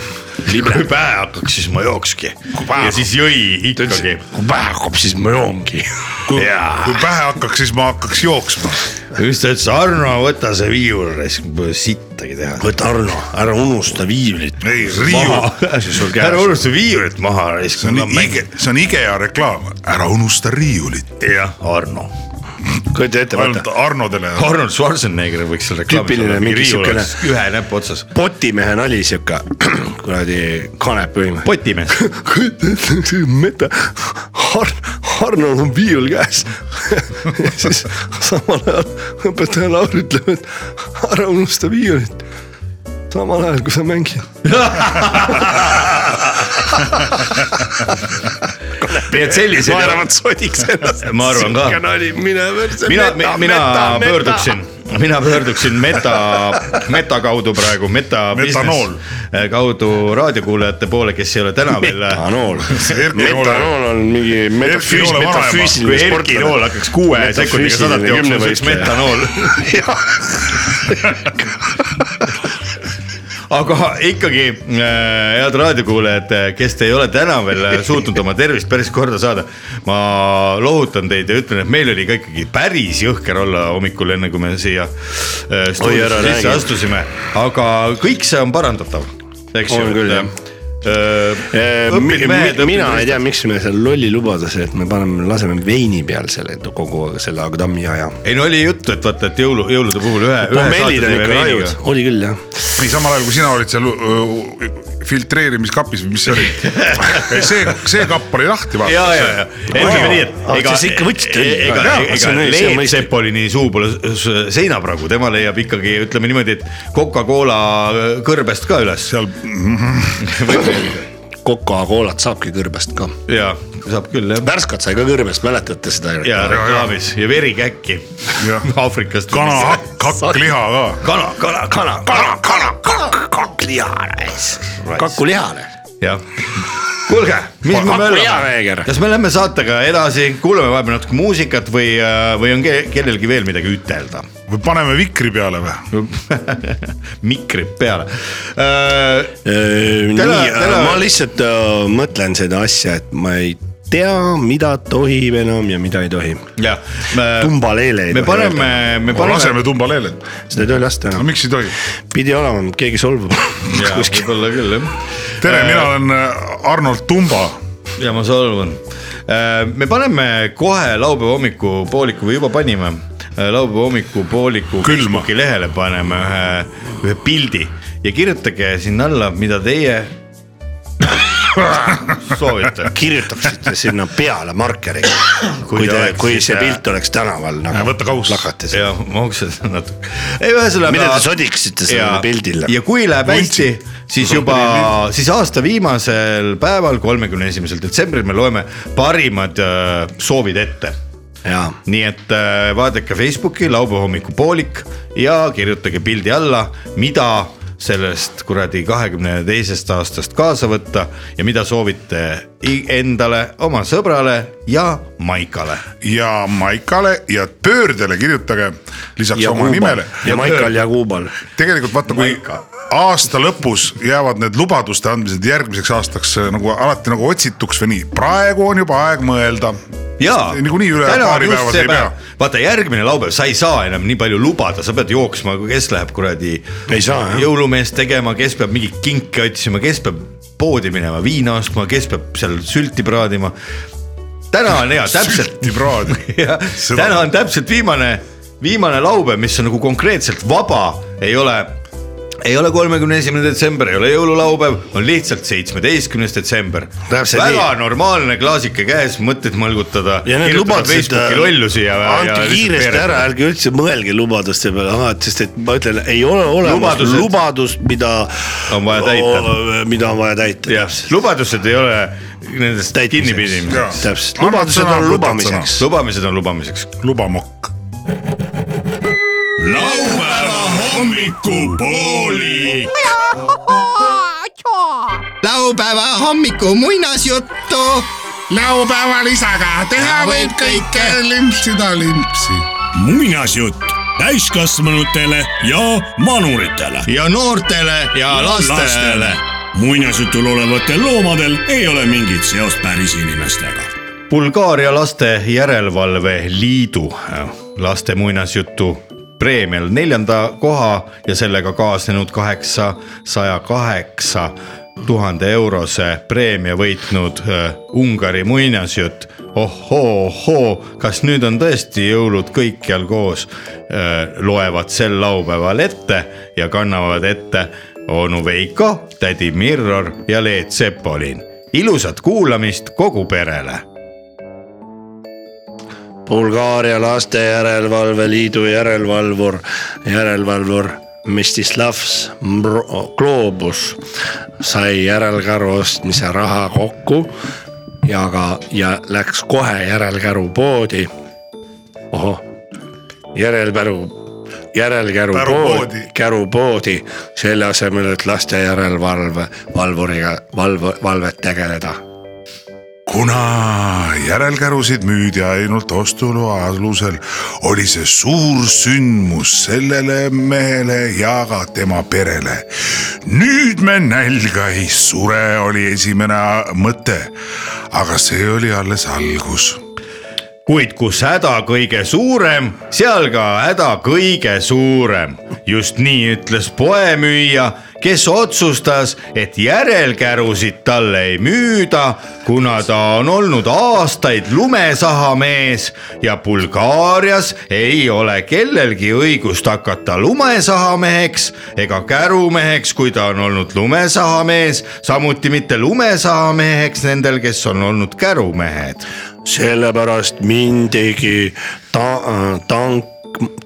Speaker 4: kui pähe hakkaks , siis ma jookski . ja siis jõi ikkagi .
Speaker 8: kui pähe hakkab , siis ma joongi .
Speaker 5: kui
Speaker 4: jaa.
Speaker 5: kui pähe hakkaks , siis ma hakkaks jooksma .
Speaker 4: just ta ütles , Arno , võta see viiul , raisk , pole sittagi teha .
Speaker 8: võta Arno , ära unusta viivlit .
Speaker 5: ei , riiul ,
Speaker 8: <laughs>
Speaker 4: ära unusta viiulit maha , raisk .
Speaker 5: see on IKE , see on IKEA reklaam , ära unusta riiulit .
Speaker 4: jah , Arno .
Speaker 8: kujuta ette ,
Speaker 5: ainult
Speaker 8: vaata ,
Speaker 5: Arnodele .
Speaker 4: Arnold Schwarzenegger võiks seal reklaamis
Speaker 8: Tüüpiline mingi siukene-
Speaker 4: riiul oleks ühe näpu otsas .
Speaker 8: potimehe nali siuke <clears throat> kuradi kanepi võim .
Speaker 4: potimees .
Speaker 8: kujuta ette , see meta , Har- , Arnol on viiul käes . siis samal ajal õpetaja Laur ütleb , et ära unusta viiulit . samal ajal , kui sa mängid .
Speaker 4: nii et sellisel
Speaker 8: naeravad sodiks <laughs> ennast .
Speaker 4: Ma arvan ka.
Speaker 8: siuke nali , mine .
Speaker 4: mina , mina . pöörduksin , mina pöörduksin meta , meta kaudu praegu , meta .
Speaker 5: Metanool. .
Speaker 4: kaudu raadiokuulajate poole , kes ei ole täna veel .
Speaker 8: metanool ,
Speaker 5: Erki Noole-
Speaker 8: metanool on mingi
Speaker 5: Erki
Speaker 8: metafüüs-
Speaker 5: Noole vanaema.
Speaker 4: kui
Speaker 8: metafüüsiline
Speaker 4: Erki Nool
Speaker 8: sportlane .
Speaker 4: hakkaks kuue sekundiga sadat
Speaker 8: Metafüüsiline
Speaker 4: jooksma , siis oleks
Speaker 8: kümnevõistleja. <laughs>
Speaker 4: metanool . aga ikkagi , head raadiokuulajad , kes te ei ole täna veel äh, suutnud oma tervist päris korda saada , ma lohutan teid ja ütlen , et meil oli ka ikkagi päris jõhker olla hommikul , enne kui me siia äh,
Speaker 8: ära
Speaker 4: stuudiosse sisse
Speaker 8: räägi.
Speaker 4: astusime , aga kõik see on parandatav , eks ju . äh,
Speaker 8: On küll, jah. Äh, Eh, mina ei tea , miks me seal lolli lubades , et me paneme , laseme veini peal selle kogu selle Agdami aja .
Speaker 4: ei no oli juttu , et vaata , et jõulu , jõulude puhul ühe , ühe saate
Speaker 8: pommellid on
Speaker 4: teeme
Speaker 8: ikka
Speaker 4: veiniga
Speaker 8: rajud ., oli küll jah .
Speaker 5: ei , samal ajal kui sina olid seal öö, filtreerimiskapis või mis see oli , <laughs> see , see kapp oli
Speaker 4: ja ,
Speaker 5: lahti vaata .
Speaker 4: ja , ja , ütleme nii , et
Speaker 8: Aga siis ikka võtsite
Speaker 4: e-
Speaker 8: õli.
Speaker 4: ega
Speaker 8: Jaa, , see
Speaker 4: ega
Speaker 8: on- see on
Speaker 4: Leet
Speaker 8: mõistlik.
Speaker 4: Sepolini suu pole s- s- seinapragu , tema leiab ikkagi , ütleme niimoodi , et Coca-Cola kõrbest ka üles
Speaker 8: <laughs>
Speaker 5: seal
Speaker 8: Coca-Colat saabki kõrbest ka .
Speaker 4: ja saab küll jah .
Speaker 8: värskat sai ka kõrbest , mäletate seda ?
Speaker 4: ja reklaamis ja verikäkki
Speaker 5: Jah.
Speaker 4: <laughs> Aafrikast .
Speaker 5: kana hakk , hakkliha ka .
Speaker 4: kana , kana , kana ,
Speaker 8: kana , kana , kakk , kakklihale . kakulihale .
Speaker 4: jah . kuulge , mis me möllame ,
Speaker 8: kakulihaveeger .
Speaker 4: kas me lähme saatega edasi , kuulame vahepeal natuke muusikat või , või on ke- kellelgi veel midagi ütelda ?
Speaker 5: või paneme vikri peale või ?
Speaker 4: <laughs> mikrib peale . Äh,
Speaker 8: Äh, nii ,
Speaker 4: Täna- täna-
Speaker 8: ma lihtsalt äh, mõtlen seda asja , et ma ei tea , mida tohib enam ja mida ei tohi .
Speaker 4: jah ,
Speaker 8: tumbaleele ei
Speaker 4: me
Speaker 8: tohi öelda.
Speaker 4: paneme , me <laughs> paneme .
Speaker 5: laseme tumbaleeled .
Speaker 8: seda ei tohi lasta
Speaker 5: no
Speaker 8: enam .
Speaker 5: miks ei tohi ?
Speaker 8: pidi olema , keegi solvub kuskil .
Speaker 4: võib-olla küll jah .
Speaker 5: tere , mina olen äh, Arnold Tumba .
Speaker 4: ja ma solvun . Äh, me paneme kohe laupäeva hommikupooliku või juba panime , laupäeva hommikupooliku
Speaker 5: Külma.
Speaker 4: Facebooki lehele paneme
Speaker 8: <laughs>
Speaker 4: ühe , ühe pildi ja kirjutage sinna alla , mida teie soovitan .
Speaker 8: kirjutaksite sinna peale markeriga ,
Speaker 4: Kui
Speaker 8: kui
Speaker 4: te
Speaker 8: te , kui see
Speaker 4: oleksite-
Speaker 8: pilt oleks tänaval nagu
Speaker 10: võta kaus.
Speaker 8: plakatis .
Speaker 4: jah , ma uksed <laughs> natuke . ei ühesõnaga .
Speaker 8: mida te sodiksite
Speaker 4: ja
Speaker 8: sellele , pildile ?
Speaker 4: ja kui läheb hästi , siis juba , siis aasta viimasel päeval , kolmekümne esimesel detsembril me loeme parimad äh, soovid ette .
Speaker 8: jaa ,
Speaker 4: nii et äh, vaadake Facebooki laupäeva hommikupoolik ja kirjutage pildi alla , mida sellest kuradi kahekümne teisest aastast kaasa võtta ja mida soovite i- endale , oma sõbrale ja Maikale .
Speaker 5: ja Maikale ja Pöördele kirjutage lisaks
Speaker 8: ja
Speaker 5: oma
Speaker 8: Kuubal
Speaker 5: nimele .
Speaker 8: ja Maikal ja Kuubal .
Speaker 5: tegelikult vaata , kui aasta lõpus jäävad need lubaduste andmised järgmiseks aastaks äh, nagu alati nagu otsituks või nii , praegu on juba aeg mõelda .
Speaker 4: jaa .
Speaker 5: niikuinii üle paari päeva sa ei pea .
Speaker 4: vaata järgmine laupäev , sa ei saa enam nii palju lubada , sa pead jooksma , kes läheb kuradi
Speaker 8: Ei saa, jah.
Speaker 4: jõulumeest tegema , kes peab mingeid kinke otsima , kes peab poodi minema viina ostma , kes peab seal sülti praadima . täna on hea , täpselt ,
Speaker 5: praad . Seda-
Speaker 4: täna on täpselt viimane , viimane laupäev , mis on nagu konkreetselt vaba , ei ole ei ole kolmekümne esimene detsember , ei ole jõululaupäev , on lihtsalt seitsmeteistkümnes detsember .
Speaker 8: Täpselt
Speaker 4: väga
Speaker 8: nii.
Speaker 4: normaalne klaasike käes , mõtteid mõlgutada .
Speaker 8: ja need lubadused ,
Speaker 4: Facebooki lollusi ja .
Speaker 8: andke kiiresti ära , ärge üldse mõelge lubaduste peale , alati , sest et ma ütlen , ei ole olemas
Speaker 4: Lubadused-
Speaker 8: lubadust , mida .
Speaker 4: On vaja täita. .
Speaker 8: mida on vaja täita
Speaker 4: jah ,, lubadused ei ole nendest
Speaker 8: Täitmiseks.
Speaker 4: kinnipidamiseks .
Speaker 8: täpselt ,
Speaker 5: Annad
Speaker 8: <laughs> lubadused
Speaker 5: sõna,
Speaker 8: on
Speaker 5: võtad
Speaker 8: lubamiseks .
Speaker 4: lubamised on lubamiseks .
Speaker 5: lubamokk .
Speaker 1: laupäeva hommikupoolik .
Speaker 10: laupäeva hommiku muinasjuttu .
Speaker 7: laupäeva lisaga teha võib kõike , limpsida limpsi .
Speaker 1: muinasjutt täiskasvanutele ja vanuritele .
Speaker 10: ja noortele ja lastele .
Speaker 1: muinasjutul olevatel loomadel ei ole mingit seost päris inimestega .
Speaker 4: Bulgaaria Laste Järelevalve Liidu äh, laste muinasjutu preemial neljanda koha ja sellega kaasnenud kaheksasaja kaheksa tuhande eurose preemia võitnud äh, Ungari muinasjutt ohoo-ohoo , kas nüüd on tõesti jõulud kõikjal koos , loevad sel laupäeval ette ja kannavad ette onu Veiko , tädi Mirror ja Leet Sepolin . ilusat kuulamist kogu perele
Speaker 8: Bulgaaria laste järelevalve liidu järelevalvur , järelevalvur Mstislav Mbro- Globus sai järelkäru ostmise raha kokku ja ka , ja läks kohe järelkäru poodi . ohoh , järelkäru , järelkäru
Speaker 5: Käru
Speaker 8: poodi
Speaker 5: poodi. ,
Speaker 8: kärupoodi , selle asemel , et laste järelevalve , valvuriga , valve , valvet tegeleda
Speaker 5: kuna järelkärusid müüdi ainult ostuloa alusel , oli see suur sündmus sellele mehele ja ka tema perele . nüüd me nälga ei sure , oli esimene mõte . aga see oli alles algus .
Speaker 4: kuid kus häda kõige suurem , seal ka häda kõige suurem . just nii ütles poemüüja , kes otsustas , et järelkärusid talle ei müüda , kuna ta on olnud aastaid lumesahamees ja Bulgaarias ei ole kellelgi õigust hakata lumesahameheks ega kärumeheks , kui ta on olnud lumesahamees , samuti mitte lumesahameheks nendel , kes on olnud kärumehed
Speaker 8: sellepärast mindigi ta- , tank ,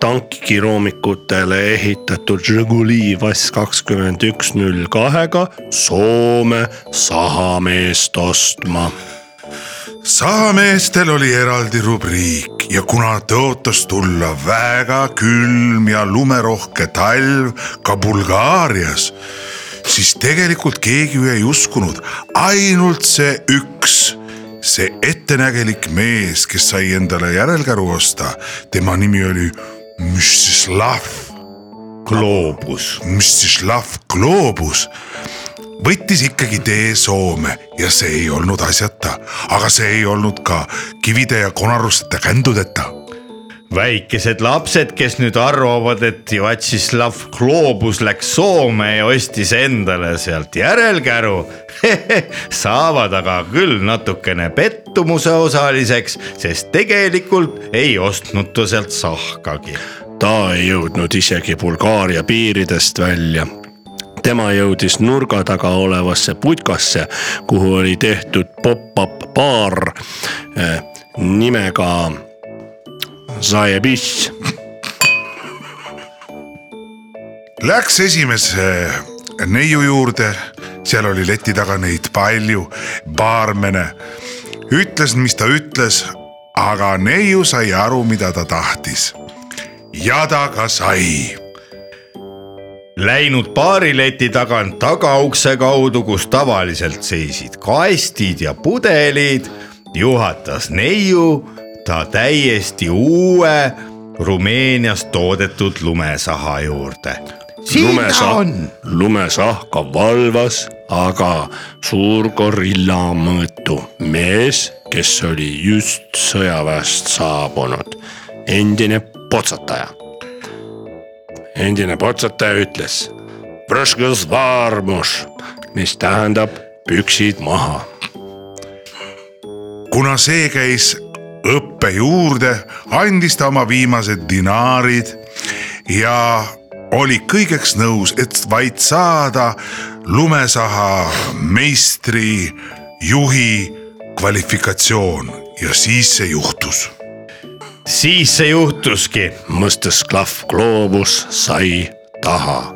Speaker 8: tankiroomikutele ehitatud Žiguli Vass kakskümmend üks null kahega Soome sahameest ostma .
Speaker 5: sahameestel oli eraldi rubriik ja kuna tõotas tulla väga külm ja lumerohke talv ka Bulgaarias , siis tegelikult keegi ju ei uskunud , ainult see üks , see ettenägelik mees , kes sai endale järelkäru osta , tema nimi oli Mstislav ,
Speaker 4: gloobus .
Speaker 5: Mstislav Globus võttis ikkagi tee Soome ja see ei olnud asjata , aga see ei olnud ka kivide ja konarusteta kändudeta .
Speaker 4: väikesed lapsed , kes nüüd arvavad , et Vatšislav Gloobus läks Soome ja ostis endale sealt järelkäru , <laughs> saavad aga küll natukene pettumuse osaliseks , sest tegelikult ei ostnud ta sealt sahkagi .
Speaker 8: ta ei jõudnud isegi Bulgaaria piiridest välja
Speaker 11: tema jõudis nurga taga olevasse putkasse , kuhu oli tehtud pop-up baar eh, nimega Zajebiss .
Speaker 5: Läks esimese neiu juurde , seal oli leti taga neid palju , baarmene ütles , mis ta ütles , aga neiu sai aru , mida ta tahtis . ja ta ka sai .
Speaker 4: Läinud baarileti tagant tagaukse kaudu , kus tavaliselt seisid kastid ja pudelid , juhatas neiu ta täiesti uue Rumeenias toodetud lumesaha juurde . siin ta on .
Speaker 11: lumesahka valvas aga suur gorilla mõõtu mees , kes oli just sõjaväest saabunud , endine potsataja . endine potsataja ütles , mis tähendab püksid maha
Speaker 5: kuna see käis õppe juurde , andis ta oma viimased dinaarid ja oli kõigeks nõus , et vaid saada lumesaha meistri , juhi kvalifikatsioon ja siis see juhtus .
Speaker 4: siis see juhtuski .
Speaker 11: mõistes klahv gloobus sai taha .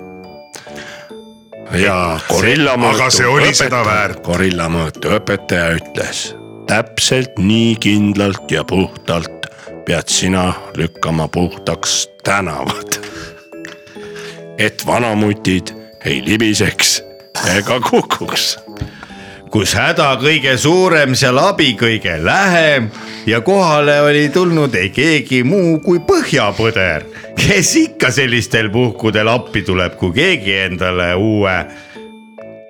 Speaker 11: ja gorilla
Speaker 5: Aga see oli seda väärt.
Speaker 11: gorilla mõõtu õpetaja ütles , täpselt nii kindlalt ja puhtalt pead sina lükkama puhtaks tänavad . et vanamutid ei libiseks ega kukuks .
Speaker 4: kus häda kõige suurem , seal abi kõige lähem ja kohale oli tulnud ei keegi muu kui põhjapõder , kes ikka sellistel puhkudel appi tuleb , kui keegi endale uue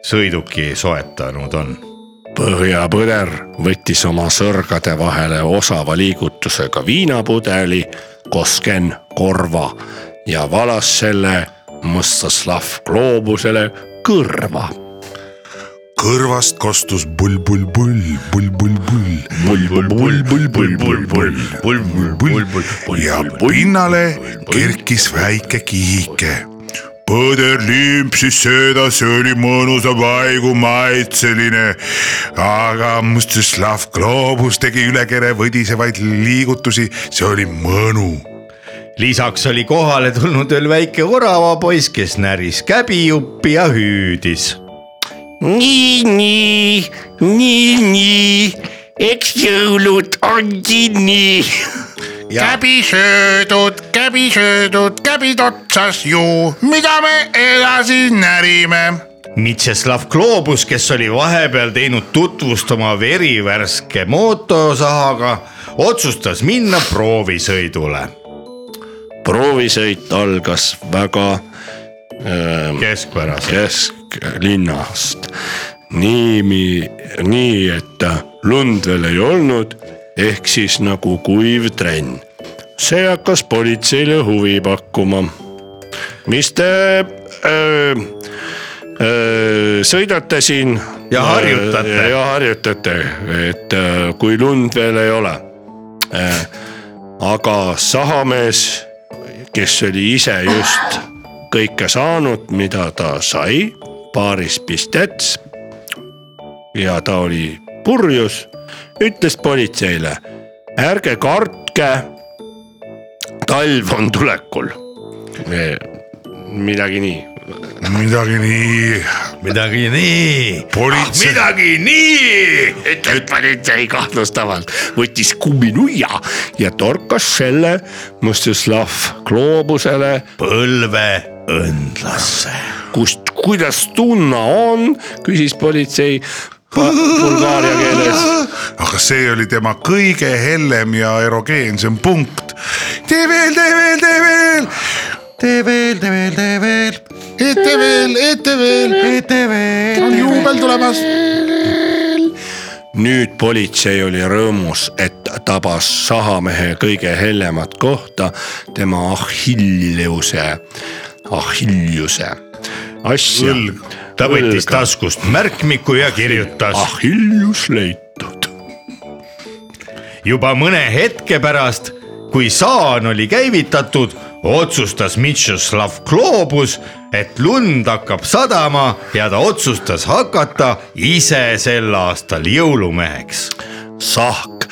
Speaker 4: sõiduki soetanud on .
Speaker 11: põhjapõder võttis oma sõrgade vahele osava liigutusega viinapudeli , kosken korva ja valas selle Mõstaslav gloobusele kõrva .
Speaker 5: kõrvast kostus pull-pull-pull , pull-pull-pull . pull-pull-pull-pull-pull-pull-pull-pull-pull-pull-pull ja pinnale kerkis väike kihike . põder limpsis seda , see oli mõnusa paigu maitseline , aga Mustislav Gloobus tegi üle kere võdisevaid liigutusi , see oli mõnu .
Speaker 4: lisaks oli kohale tulnud veel väike oravapoiss , kes näris käbijuppi ja hüüdis .
Speaker 12: nii , nii , nii , nii , eks jõulud ongi nii .
Speaker 7: käbi söödud , käbi söödud , käbid otsas ju , mida me edasi närime ?
Speaker 4: Mitšeslav Gloobus , kes oli vahepeal teinud tutvustama verivärske mootorsahaga , otsustas minna proovisõidule .
Speaker 11: proovisõit algas väga ähm, .
Speaker 4: keskpäraselt .
Speaker 11: kesklinnast , nii , nii , et lund veel ei olnud , ehk siis nagu kuiv trenn . see hakkas politseile huvi pakkuma . mis te öö, öö, sõidate siin ?
Speaker 4: Ja harjutate.
Speaker 11: ja harjutate , et öö, kui lund veel ei ole . aga sahamees , kes oli ise just kõike saanud , mida ta sai , paaris pistets . ja ta oli purjus , ütles politseile , ärge kartke . talv on tulekul . midagi nii .
Speaker 5: midagi nii .
Speaker 4: midagi nii . Ah,
Speaker 5: politsei .
Speaker 11: midagi nii , <laughs> ütles politsei kahtlustavalt , võttis kumminuia ja torkas selle Mustislav gloobusele
Speaker 4: põlve õndlasse .
Speaker 11: kust , kuidas tunna on , küsis politsei pa- bulgaaria keeles .
Speaker 5: aga see oli tema kõige hellem ja erogeensem punkt . tee veel , tee veel , tee veel .
Speaker 7: tee veel , tee veel , tee veel . ette veel , ette veel . ette veel . on juubel tulemas .
Speaker 11: nüüd politsei oli rõõmus , et tabas sahamehe kõige hellemat kohta , tema Achilleuse , Achilleuse asja .
Speaker 4: ta võttis taskust märkmiku ja kirjutas .
Speaker 11: Achilleus leitud .
Speaker 4: juba mõne hetke pärast , kui saan oli käivitatud ,
Speaker 13: otsustas Mitšoslav Kloobus , et lund hakkab sadama ja ta otsustas hakata ise sel aastal jõulumeheks .
Speaker 11: sahk ,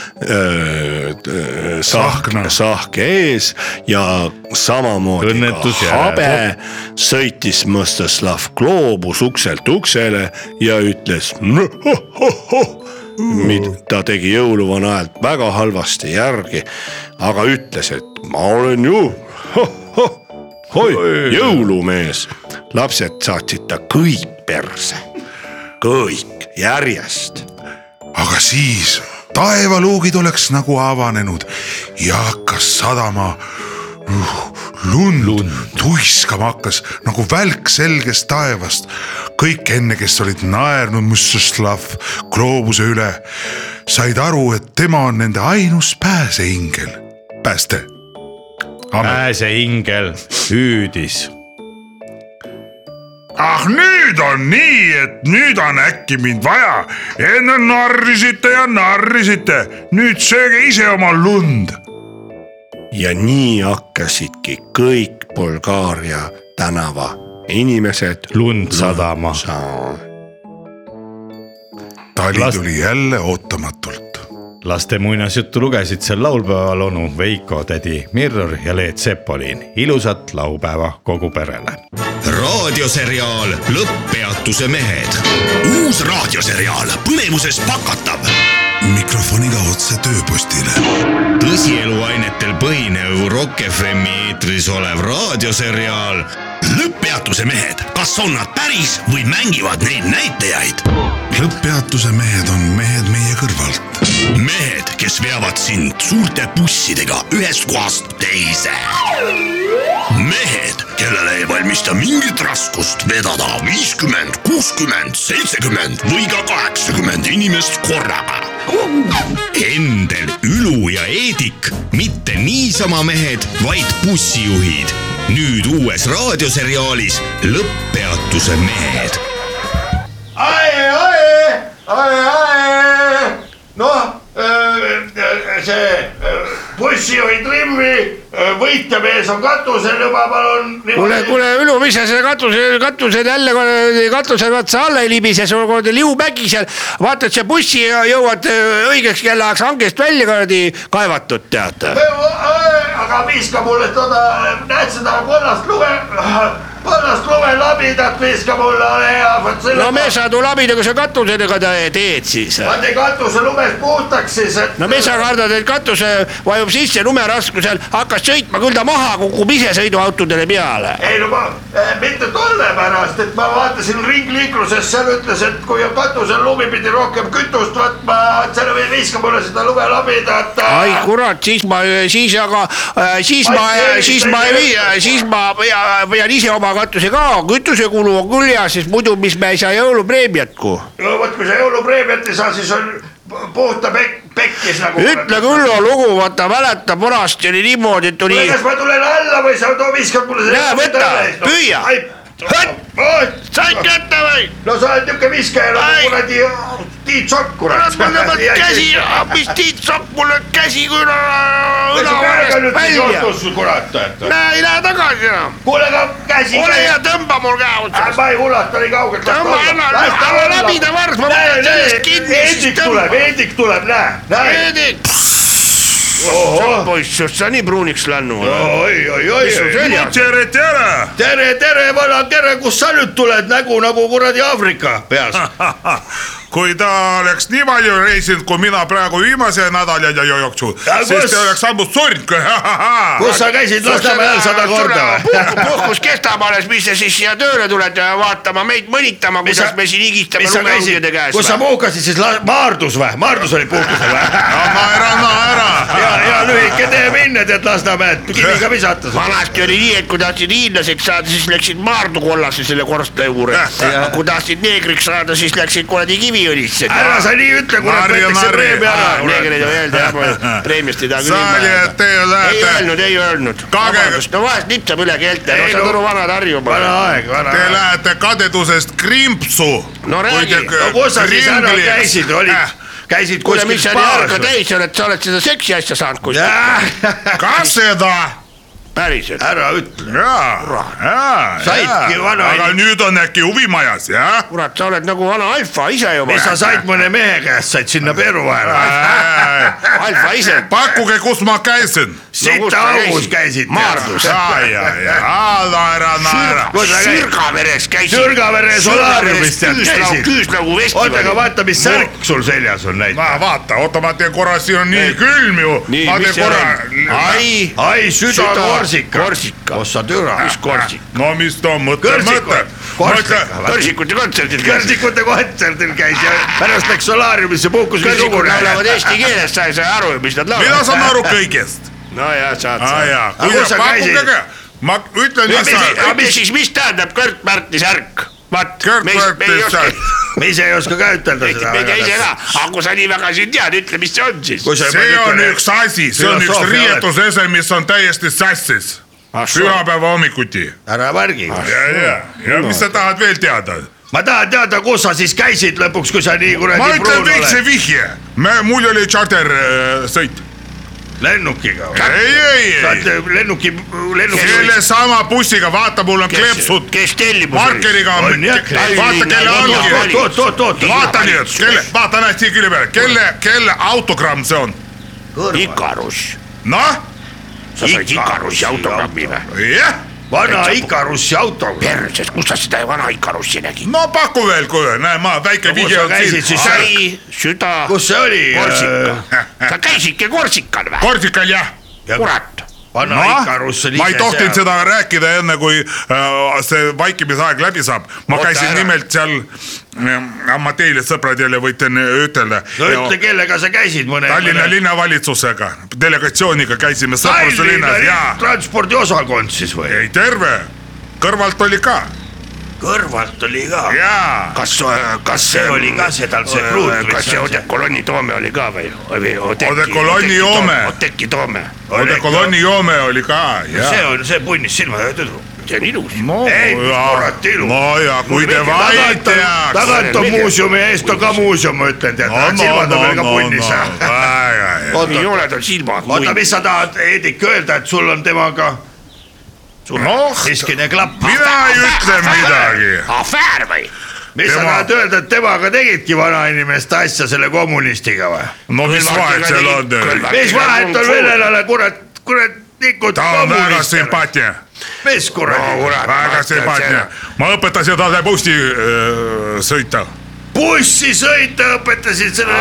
Speaker 11: sahk , sahk ees ja samamoodi
Speaker 13: Õnnetus
Speaker 11: ka
Speaker 13: järel.
Speaker 11: habe sõitis Mõstaslav Gloobus ukselt uksele ja ütles . mida ta tegi jõuluvana häält väga halvasti järgi , aga ütles , et ma olen ju <laughs> oi jõulumees . lapsed saatsid ta kõik perse , kõik järjest
Speaker 5: aga siis taevaluugid oleks nagu avanenud ja hakkas sadama uh, lund, lund. , tuiskama hakkas nagu välk selgest taevast . kõik enne , kes olid naernud Mstislav gloobuse üle , said aru , et tema on nende ainus pääseingel , pääste .
Speaker 13: pääseingel hüüdis .
Speaker 5: ah nüüd on nii , et nüüd on äkki mind vaja . enne narrisite ja narrisite , nüüd sööge ise oma lund .
Speaker 11: ja nii hakkasidki kõik Bulgaaria tänava inimesed
Speaker 13: lund sadama .
Speaker 5: tali Last... tuli jälle ootamatult .
Speaker 13: laste muinasjuttu lugesid sel laulpäeval onu Veiko , tädi Mirror ja Leet Sepolin . ilusat laupäeva kogu perele .
Speaker 1: raadioseriaal Lõpppeatuse mehed .
Speaker 14: uus raadioseriaal põnevuses pakatav . mikrofoniga otse tööpostile .
Speaker 1: tõsieluainetel põhinev Rock FM-i eetris olev raadioseriaal Lõpppeatuse mehed , kas on nad päris või mängivad neid näitajaid ?
Speaker 14: lõpppeatuse mehed on mehed meie kõrvalt .
Speaker 1: mehed , kes veavad sind suurte bussidega ühest kohast teise .
Speaker 14: mehed , kellele ei valmista mingit raskust vedada viiskümmend , kuuskümmend , seitsekümmend või ka kaheksakümmend inimest korraga .
Speaker 1: Endel , Ülu ja Eedik , mitte niisama mehed , vaid bussijuhid . nüüd uues raadioseriaalis Lõpppeatuse mehed .
Speaker 4: ae , ae , ae , ae , noh , see äh, bussijuhi trimmi äh, võitjamees on katusel juba , palun .
Speaker 8: kuule , kuule Ülu , mis sa selle katuse , katusel jälle kuradi katuse otsa alla ei libise , sul on kuradi liumägi seal . vaata , et see bussi ja jõuad öö, õigeks kellaajaks hangest välja kuradi kaevatud tead .
Speaker 4: Äh, aga viska mulle toda , näed seda kollast lume , äh, kollast lumelabidat viska mulle , ole hea .
Speaker 8: no mesa , tule abida , kui sa katusedega ta- teed siis .
Speaker 4: vaata katuse lumest puhtaks siis , et .
Speaker 8: no mis sa kardad , et katus öö, vajub sisse lumeraskusel , hakkas sõitma , küll ta maha kukub ise sõiduautodele peale .
Speaker 4: ei no ma , mitte tolle pärast , et ma vaatasin ringliikluses , seal ütles , et kui on katusel lumi , pidi rohkem kütust võtma , et seal või viska mulle seda lume eh, labidat .
Speaker 8: ai kurat , siis ma , siis aga , siis ma , siis ma ei vii , siis ma pea- pean ise oma katuse ka , kütusekulu on küll hea , sest muidu , mis me ei saa jõulupreemiat ku .
Speaker 4: no vot , kui sa jõulupreemiat ei saa , siis on pu- puhta pek- , pekkis nagu .
Speaker 8: ütle küll , lugu , vaata mäletab , vanasti oli niimoodi , et tuli .
Speaker 4: kas ma tulen alla või sa too viskad mulle selle .
Speaker 8: Näe, võta, püüa. .
Speaker 4: said kätte või ? no sa oled niuke viskaja nagu kuradi äh, Tiit Sokk , kurat .
Speaker 15: kurat , mul tõmbad käsi , mis Tiit Sopp , mul lööb käsi kuna õlavarrest välja . näe , ei lähe tagasi enam .
Speaker 4: kuule , aga käsi .
Speaker 15: ole hea , tõmba mul käe otsast .
Speaker 4: ma ei ulata nii kaugelt .
Speaker 15: tõmba ära , las ta olla läbi ta varst , ma panen sellest kinni , siis
Speaker 4: Heidik tuleb ,
Speaker 15: tõmba .
Speaker 4: Heidik tuleb , näe , näe .
Speaker 15: Heidik .
Speaker 8: poiss , just sa nii pruuniks lännu .
Speaker 4: oi , oi , oi ,
Speaker 8: tere ,
Speaker 4: tere . tere , tere , vana tere , kust sa nüüd tuled , nägu nagu kuradi Aafrika
Speaker 15: <laughs>
Speaker 4: peas .
Speaker 5: <laughs> kui ta oleks nii palju reisinud , kui mina praegu viimase nädala ja- ja jooksul ,
Speaker 4: Ja
Speaker 5: siis
Speaker 4: kus-
Speaker 5: ta oleks ammu surnud . <laughs>
Speaker 4: kus sa käisid Lasnamäel sada korda või ?
Speaker 8: puhkus kestab alles , mis te siis siia tööle tulete vaatama , meid mõnitama ,
Speaker 4: Mis sa-
Speaker 8: kuidas me siin higistame
Speaker 4: mis sa käisid
Speaker 8: lumeaugide , käes .
Speaker 4: kus sa puhkasid siis , Maardus või , Maardus oli puhkusel
Speaker 8: <laughs>
Speaker 4: või ? anna ära , anna ära . ja , ja lühike tee minna , tead Lasnamäed , kiviga visatas .
Speaker 8: vanasti oli nii , et kui tahtsid hiinlaseks saada , siis läksid Maardu kollasse selle korstna juurde . aga kui tahtsid neegriks saada , siis läksid kuradi Kiviõlisse .
Speaker 4: Ära sa nii ütle, kurat, võetakse preemia ära, kurat.
Speaker 8: neegrid ei öelda jah ,
Speaker 4: <laughs>
Speaker 8: ma preemiast ei taha küll .
Speaker 4: Saljad, teie
Speaker 8: ei
Speaker 4: lähete-
Speaker 8: öelnud , ei öelnud . vabandust , no vahest nipsab üle keelte , no
Speaker 4: Ei,
Speaker 8: saad
Speaker 4: no-
Speaker 8: aru , vanad Harjumaa .
Speaker 4: vana aeg , vana
Speaker 5: Te
Speaker 4: aeg .
Speaker 5: lähete kadedusest krimpsu .
Speaker 8: no räägi ,
Speaker 4: no kus sa siis ära käisid , olid , käisid
Speaker 8: Äh. kuule , mis
Speaker 4: kuskil
Speaker 8: sa nii eh?
Speaker 4: baaris
Speaker 8: harka
Speaker 4: või ?
Speaker 8: täis oled , sa oled seda seksi asja saanud kuskilt .
Speaker 5: kas seda ?
Speaker 8: päriselt .
Speaker 4: Äh, ära ütle .
Speaker 5: jaa , jaa ,
Speaker 4: Saidki
Speaker 5: jaa ,
Speaker 4: vana
Speaker 5: aga
Speaker 4: inim-
Speaker 5: nüüd on äkki huvimajas , jah ?
Speaker 8: kurat , sa oled nagu vana alfa ise juba
Speaker 4: mis sa said mõne mehe käest , said sinna peru <laughs> vahele .
Speaker 8: Äh. alfa ise .
Speaker 5: pakkuge , kus ma käisin .
Speaker 4: siit augus käisid .
Speaker 8: Maardus.
Speaker 5: ja , ja , ja , naera , naera .
Speaker 8: Sürgaveres käisid . nagu
Speaker 4: Sürgavere solaariumis tead
Speaker 8: käisid . küüslaugu vesti .
Speaker 4: oota , aga vaata , mis särk sul seljas on näiteks .
Speaker 5: ma vaata , oota , ma teen korra , siin on nii külm ju .
Speaker 4: Nii,
Speaker 5: ma
Speaker 4: mis
Speaker 5: teen
Speaker 4: seal
Speaker 5: korra .
Speaker 4: ai , ai südakorsika . korsika . ossa türa .
Speaker 8: mis korsik ?
Speaker 5: no mis too mõte , mõte .
Speaker 8: kõrsikute kontserdil käisid .
Speaker 4: kõrsikute kontserdil käis ja pärast läks solaariumisse puhkusele .
Speaker 8: kõrsikud laulavad eesti keeles , sa ei saa aru , mis nad laulavad .
Speaker 5: mina saan aru . kõigest .
Speaker 8: no ja saad .
Speaker 5: aa jaa ,
Speaker 4: Aga kus sa käisid?
Speaker 5: pakkuge , ma ütlen .
Speaker 8: mis siis , mis tähendab Kört Märtni särk ? vaat , me ei- me ei oska ,
Speaker 4: me ise ei oska ka ütelda seda .
Speaker 8: me ei tea ise ka , aga kui sa nii väga siin tead , ütle , mis see on siis .
Speaker 4: Kui sa-
Speaker 5: see on üks asi , see on üks
Speaker 4: Filosoofia
Speaker 5: riietusese , mis on täiesti sassis .
Speaker 4: Ah,
Speaker 5: pühapäeva hommikuti .
Speaker 4: ära märgi .
Speaker 5: ja , ja , ja mis sa tahad veel teada ?
Speaker 4: ma tahan teada , kus sa siis käisid lõpuks , kui sa nii kuradi
Speaker 5: ma ütlen
Speaker 4: pruun
Speaker 5: väikse
Speaker 4: oled .
Speaker 5: vihje , mul oli tšartersõit .
Speaker 4: lennukiga .
Speaker 5: ei , ei ,
Speaker 4: sa
Speaker 5: ei ,
Speaker 4: oled äh, lennuki , lennuki .
Speaker 5: sellesama bussiga , vaata , mul on kleepsud .
Speaker 8: kes tellimus
Speaker 5: markeriga on , vaata kelle allkiri ,
Speaker 4: oot , oot , oot ,
Speaker 5: vaata nüüd , kelle , vaata näed siia külje peale , kelle , kelle autogramm see on ?
Speaker 4: oot .
Speaker 8: Ikarus ,
Speaker 5: noh ,
Speaker 8: sa said Ikarusi autogrammi või ?
Speaker 5: jah ,
Speaker 4: vana Ikarussi autoga .
Speaker 8: perses , kus sa seda vana Ikarussi nägid ?
Speaker 5: no paku veel , kuule , näe ma väike
Speaker 4: kus
Speaker 5: vihje
Speaker 4: sa
Speaker 5: on
Speaker 4: käisid siis
Speaker 5: siin .
Speaker 8: sai süda .
Speaker 4: kus see oli ? Äh,
Speaker 8: Korsika , <laughs> sa käisidki Korsikal või ?
Speaker 5: Korsikal jah ,
Speaker 8: kurat ,
Speaker 4: vana no? Ikarus
Speaker 5: noh ,
Speaker 4: on ise
Speaker 5: ma ei tohtinud . seda rääkida enne , kui äh, see vaikimisaeg läbi saab , ma
Speaker 8: Oota
Speaker 5: käisin
Speaker 8: ära.
Speaker 5: nimelt seal , ma teile sõpradele võin ütelda .
Speaker 4: no ütle , kellega sa käisid mõne .
Speaker 5: Tallinna linnavalitsusega , delegatsiooniga käisime Sõpruse linnas ja
Speaker 4: transpordiosakond siis või ?
Speaker 5: ei terve , kõrvalt oli ka
Speaker 4: kõrvalt oli ka .
Speaker 5: ja
Speaker 8: kas , kas ähm, äh,
Speaker 4: see oli ka see tal see pruut või
Speaker 8: kas see
Speaker 4: see ?
Speaker 8: Oudekki Kolonni Toome oli ka või , või Oudekki-
Speaker 5: Oudekki Kolonni
Speaker 8: Oudekki
Speaker 5: joome.
Speaker 8: Toome- Oudekki Toome ,
Speaker 5: kolonni joome oli ka ja
Speaker 4: see on , see punnis silma ja tüdruk .
Speaker 8: see on ilus .
Speaker 5: no
Speaker 4: ei , mis
Speaker 5: ja ,
Speaker 4: kurat ilu .
Speaker 5: no ja kui te vaid teaks .
Speaker 4: tagant on muuseumi ja eest on ka muuseum , ma ütlen , tead
Speaker 5: no , no ,
Speaker 4: silmad on
Speaker 5: no ,
Speaker 4: veel ka
Speaker 5: no ,
Speaker 4: punnis .
Speaker 5: no ,
Speaker 8: ei ole tal silmad
Speaker 4: oota , mis sa tahad , Heidik , öelda , et sul on temaga
Speaker 5: noh ,
Speaker 4: miskine klapp ?
Speaker 5: mina ei ütle midagi .
Speaker 8: afäär või ?
Speaker 4: mis sa
Speaker 5: Tema-
Speaker 4: tahad öelda , et temaga tegidki vanainimeste asja selle kommunistiga või ?
Speaker 5: no mis vahet seal on teil ?
Speaker 4: mis vahet on venelane , kurat , kurat , nikud
Speaker 5: ta on väga . sümpaatne ,
Speaker 4: mis kuradi no, ,
Speaker 5: väga sümpaatne . ma õpetasin talle bussi öö, sõita .
Speaker 4: bussisõita õpetasid selle .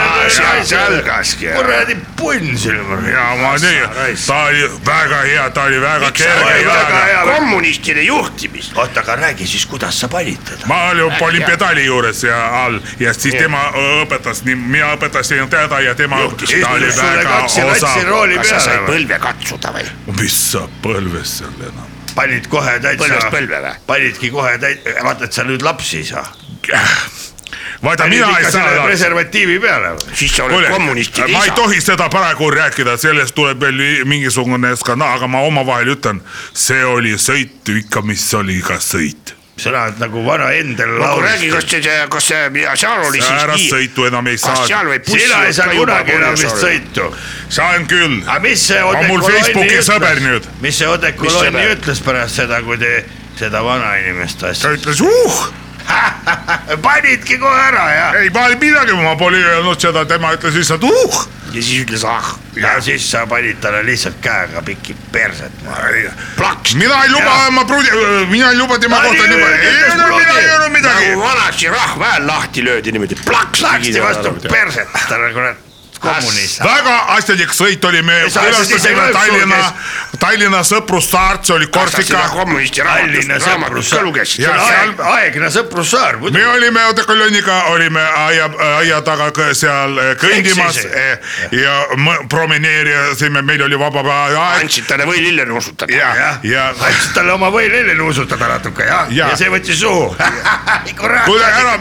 Speaker 8: algaski .
Speaker 4: kuradi punn silma .
Speaker 5: ja ma nii , ta oli väga hea , ta oli väga kerge
Speaker 4: oli väga
Speaker 5: jalaga
Speaker 4: hea?
Speaker 8: kommunistide juhtimist .
Speaker 4: oota , aga räägi siis , kuidas sa panid teda ?
Speaker 5: ma olin polümpedaali juures ja all ja siis tema õpetas , mina õpetasin teda ja tema õpetas , ta oli
Speaker 4: istus sulle
Speaker 5: väga
Speaker 4: kaks latsi
Speaker 5: osav .
Speaker 4: rooli
Speaker 8: kas sa
Speaker 4: peale
Speaker 8: said
Speaker 4: või ?
Speaker 8: põlve katsuda või ?
Speaker 5: mis saab põlves seal enam ?
Speaker 4: panid kohe
Speaker 8: põlvest
Speaker 4: täitsa ,
Speaker 8: põlve või ?
Speaker 4: panidki kohe täitsa , vaata , et sa nüüd lapsi ei saa .
Speaker 5: vaata , mina ei saa lasta .
Speaker 4: preservatiivi peale või ?
Speaker 8: siis sa oled
Speaker 5: kuule ,
Speaker 8: kommunistide
Speaker 5: Äh, ma ei
Speaker 8: isa .
Speaker 5: tohi seda praegu rääkida , sellest tuleb veel mingisugune skandaal , aga ma omavahel ütlen , see oli sõit ikka , mis oli ka sõit .
Speaker 4: sina oled nagu vana Endel
Speaker 8: no räägi ,
Speaker 4: laulis .
Speaker 8: kas see , kas see , seal oli siis
Speaker 5: ära
Speaker 8: nii ,
Speaker 5: sõitu enam ei
Speaker 8: kas
Speaker 5: saa
Speaker 8: seal . võib bussi
Speaker 4: sina ei saa kunagi enam vist . sõitu .
Speaker 5: saan küll ,
Speaker 4: aga mis see
Speaker 5: on mul Facebooki sõber
Speaker 4: ütles ,
Speaker 5: nüüd .
Speaker 4: mis see Oudekki
Speaker 8: Mis
Speaker 4: Loini
Speaker 8: sõber?
Speaker 4: ütles pärast seda , kui te seda vanainimest
Speaker 5: ta
Speaker 4: asja .
Speaker 5: ütles , uh
Speaker 4: panidki kohe ära ja ,
Speaker 5: ei , ma ei midagi , ma pole öelnud seda , tema ütles lihtsalt uh .
Speaker 8: ja siis ütles ah ,
Speaker 4: ja siis sa panid talle lihtsalt käega piki perset .
Speaker 8: plaks .
Speaker 5: mina ei luba oma pruudi , mina ei luba tema
Speaker 4: Ta
Speaker 5: kohta
Speaker 4: nii
Speaker 5: niimoodi ,
Speaker 4: öeldi,
Speaker 5: ei
Speaker 4: ütles
Speaker 5: öelnud
Speaker 4: pruudi.
Speaker 5: mina , ei öelnud midagi .
Speaker 8: nagu vanasti rahva hääl lahti löödi niimoodi , plaks .
Speaker 4: Plaksti vastu perset , talle kurat kommunist .
Speaker 5: väga asjalik sõit oli , me
Speaker 4: Ei saa asjad ise
Speaker 5: külastasime
Speaker 4: ka
Speaker 5: Tallinna
Speaker 4: sulges. ,
Speaker 5: Tallinna sõprussaart , see oli Korsika .
Speaker 8: kommunisti
Speaker 4: Tallinna
Speaker 8: raamatust , raamatust ka
Speaker 4: sõprussaar ,
Speaker 8: lugesid .
Speaker 4: see on aeg , aegne sõprussaar , muidu
Speaker 5: me olime Odekoloniga , olime aia , aia taga kõ- seal eh, kõndimas
Speaker 4: Eks siis,
Speaker 5: eh, ja mõ- promeneerisime , meil oli vaba päev aeg
Speaker 8: andsid talle võilille nuusutada .
Speaker 5: ja , ja
Speaker 4: andsid talle oma võilele nuusutada natuke ja,
Speaker 5: Jaa.
Speaker 4: ja. , ja see võttis suhu . kurat ,
Speaker 5: kuule ära ,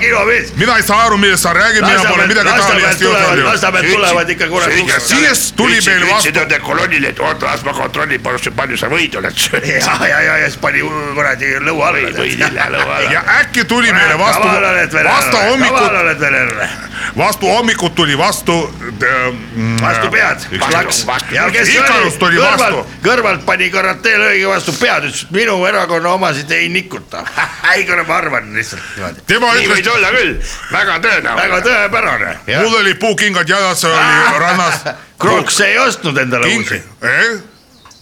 Speaker 5: mina ei saa aru , millest sa räägid , mina pole midagi taolist
Speaker 4: Lasnamäelt
Speaker 5: juhtunud
Speaker 4: tulevad ,
Speaker 5: ju .
Speaker 4: Lasnamäelt
Speaker 8: Ütle tulevad ikka kurat .
Speaker 5: siis tuli meil vastu .
Speaker 8: ütlesid nende kolonnile , et oota , las ma kontrollin , palju sa võid oled . <laughs> ja , ja , ja siis pani kuradi lõua alla , võid hilja lõua alla .
Speaker 5: ja äkki tuli meile vastu
Speaker 8: Äh, kaval oled , venelane ,
Speaker 5: vastu hommikut
Speaker 8: kaval , oled venelane .
Speaker 5: vastu hommikut tuli vastu . ähm,
Speaker 8: vastu pead , plaks . ja kes see
Speaker 5: Ikarus tuli
Speaker 8: kõrvalt
Speaker 5: vastu ,,
Speaker 8: kõrvalt pani karanteelõige vastu pead , ütles et minu erakonna omasid ei nikuta .
Speaker 5: <laughs>
Speaker 8: ei , kuule , ma arvan lihtsalt niimoodi .
Speaker 5: Tema
Speaker 8: nii
Speaker 5: ütles-
Speaker 8: võis olla küll , väga tõenäoline . väga tõepärane .
Speaker 5: mul oli puukingad jalas ,
Speaker 8: Ah!
Speaker 5: oli
Speaker 8: <laughs>
Speaker 5: rannas .
Speaker 8: Kruks ei ostnud endale uusi .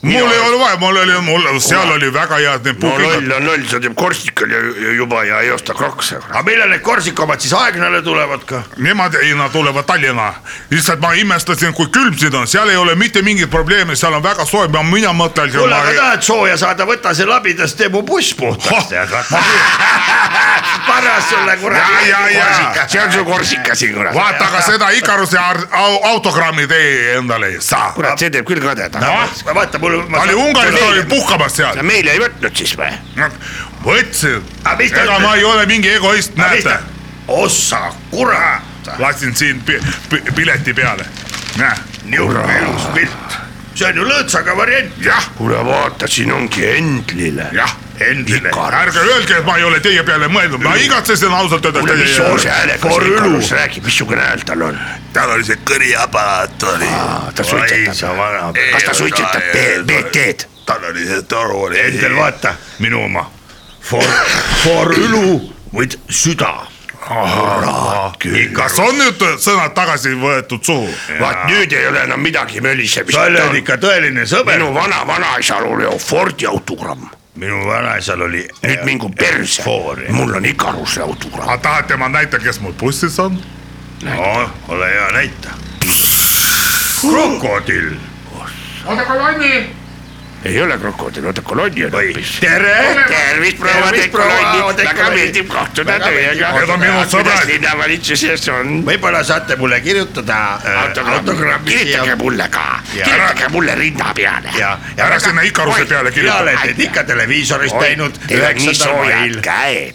Speaker 5: mul ei olnud vaja , mul oli , mul seal oli väga head need
Speaker 8: no
Speaker 5: puukingad
Speaker 8: loll . on loll , see teeb korsikal ju- ju- juba ja ei osta krokse . aga millal need korsikamad siis Aegnale tulevad ka ?
Speaker 5: Nemad , ei nad tulevad Tallinna , lihtsalt ma imestasin , kui külm siin on , seal ei ole mitte mingit probleemi , seal on väga soe , mina mõtlen .
Speaker 8: kuule , aga tahad sooja saada , võta see labidas , tee mu buss puhtaks tead . paras sulle kuradi .
Speaker 5: Oh. Ja, ja, ja.
Speaker 8: <laughs> see on su korsikas siin kurat .
Speaker 5: vaata , aga seda Ikaruse ar- au- autogrammi tee endale ei saa .
Speaker 8: kurat , see teeb küll kadeda
Speaker 5: Noh.
Speaker 8: no, . vaata mul .
Speaker 5: ta oli Ungaris , ta oli . puhkamas seal .
Speaker 8: meile ei võtnud siis või ?
Speaker 5: võtsin ,
Speaker 8: Aga mis ta
Speaker 5: ega
Speaker 8: ütles?
Speaker 5: ma ei ole mingi egoist ,
Speaker 8: Aga mis
Speaker 5: näete .
Speaker 8: ossa , kurat .
Speaker 5: lasin siin pi- pi- pileti peale , näe .
Speaker 8: nihuke ilus pilt . see on ju lõõtsaga variant . jah . kuule vaata , siin ongi Endlile . jah , Endlile .
Speaker 5: ärge öelge , et ma ei ole teie peale mõelnud , ma igatsesin ausalt öeldes .
Speaker 8: kuule , mis soose häälega see Ikarus räägib , missugune hääl tal on ?
Speaker 16: tal oli see kõriaparaat oli .
Speaker 8: ta suitsetab . kas ta suitsetab B- BT-d ?
Speaker 16: tal oli see toru oli .
Speaker 8: Endel , vaata , minu oma . For , for õlu või süda .
Speaker 5: kas on nüüd sõnad tagasi võetud suhu ?
Speaker 8: vaat nüüd ei ole enam midagi mölisemist .
Speaker 5: Sa oled ikka
Speaker 8: tõeline sõber . minu vana-vanaisal oli Fordi autogramm . minu vanaisal oli . nüüd mingu perse . mul on Ikaruse autogramm .
Speaker 5: aga tahate , ma näitan , kes mul bussis on ?
Speaker 8: no ole hea , näita . krokodill .
Speaker 17: oota , kolonni .
Speaker 8: ei ole krokodill , oota kolonni on hoopis . tere , tervist proua
Speaker 18: Tervist, proua
Speaker 8: Tekolonni ,
Speaker 18: Oudekki
Speaker 8: väga
Speaker 18: Kolonni.
Speaker 8: meeldib kohtuda
Speaker 18: Väga meeldib
Speaker 8: teiega .
Speaker 18: kohtuda. Need on minu sõbrad.
Speaker 8: linnavalitsuses on . võib-olla saate mulle kirjutada äh, autogrammi . kirjutage mulle ka , kirjutage mulle rinna peale . ja ,
Speaker 5: ära sinna Ikaruse peale kirjuta.
Speaker 8: mina olen teid ikka televiisorist
Speaker 5: Oi,
Speaker 8: näinud
Speaker 5: teil on nii
Speaker 8: üheksandal
Speaker 5: soojad
Speaker 8: mail . käed .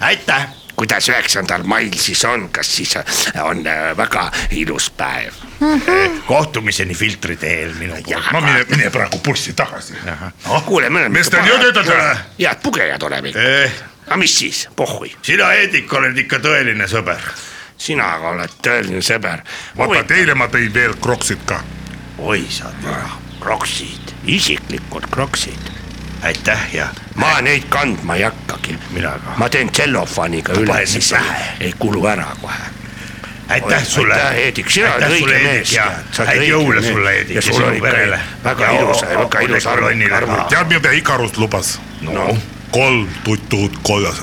Speaker 8: aitäh kuidas üheksandal mail siis on , kas siis on äh, väga ilus päev mm ? -hmm. kohtumiseni filtri teel minu poolt .
Speaker 5: no mine , mine praegu bussi tagasi .
Speaker 8: kuule , me oleme .
Speaker 5: Mis te nüüd ütlete? ?
Speaker 8: head pugejad oleme ikka eh. . aga mis siis , pohhui . sina , Heidik , oled ikka tõeline sõber . sina aga oled tõeline sõber .
Speaker 5: vaata , teile ma tõin veel kroksid ka .
Speaker 8: oi sa tea , kroksid , isiklikud kroksid . aitäh ja . ma neid kandma ei hakkagi . mina ka . ma teen tsellofaaniga üle , siis ei, ei kulu ära kohe . aitäh
Speaker 19: sulle.
Speaker 8: aitäh , Heidik , sina oled
Speaker 19: Aitäh sulle,
Speaker 8: õige
Speaker 19: Heidik,
Speaker 8: mees .
Speaker 19: ja häid jõule sulle, Heidik,
Speaker 8: ja
Speaker 19: ja
Speaker 8: sul on
Speaker 19: sinu
Speaker 8: ikka
Speaker 19: perele.
Speaker 8: väga
Speaker 19: Ja
Speaker 8: ilus ,
Speaker 19: o-
Speaker 8: väga ilus
Speaker 19: Oudekki
Speaker 8: arvamus
Speaker 19: Lonnile ka. .
Speaker 5: tead , mida Ikarus lubas ? no kolm tutut kollas ,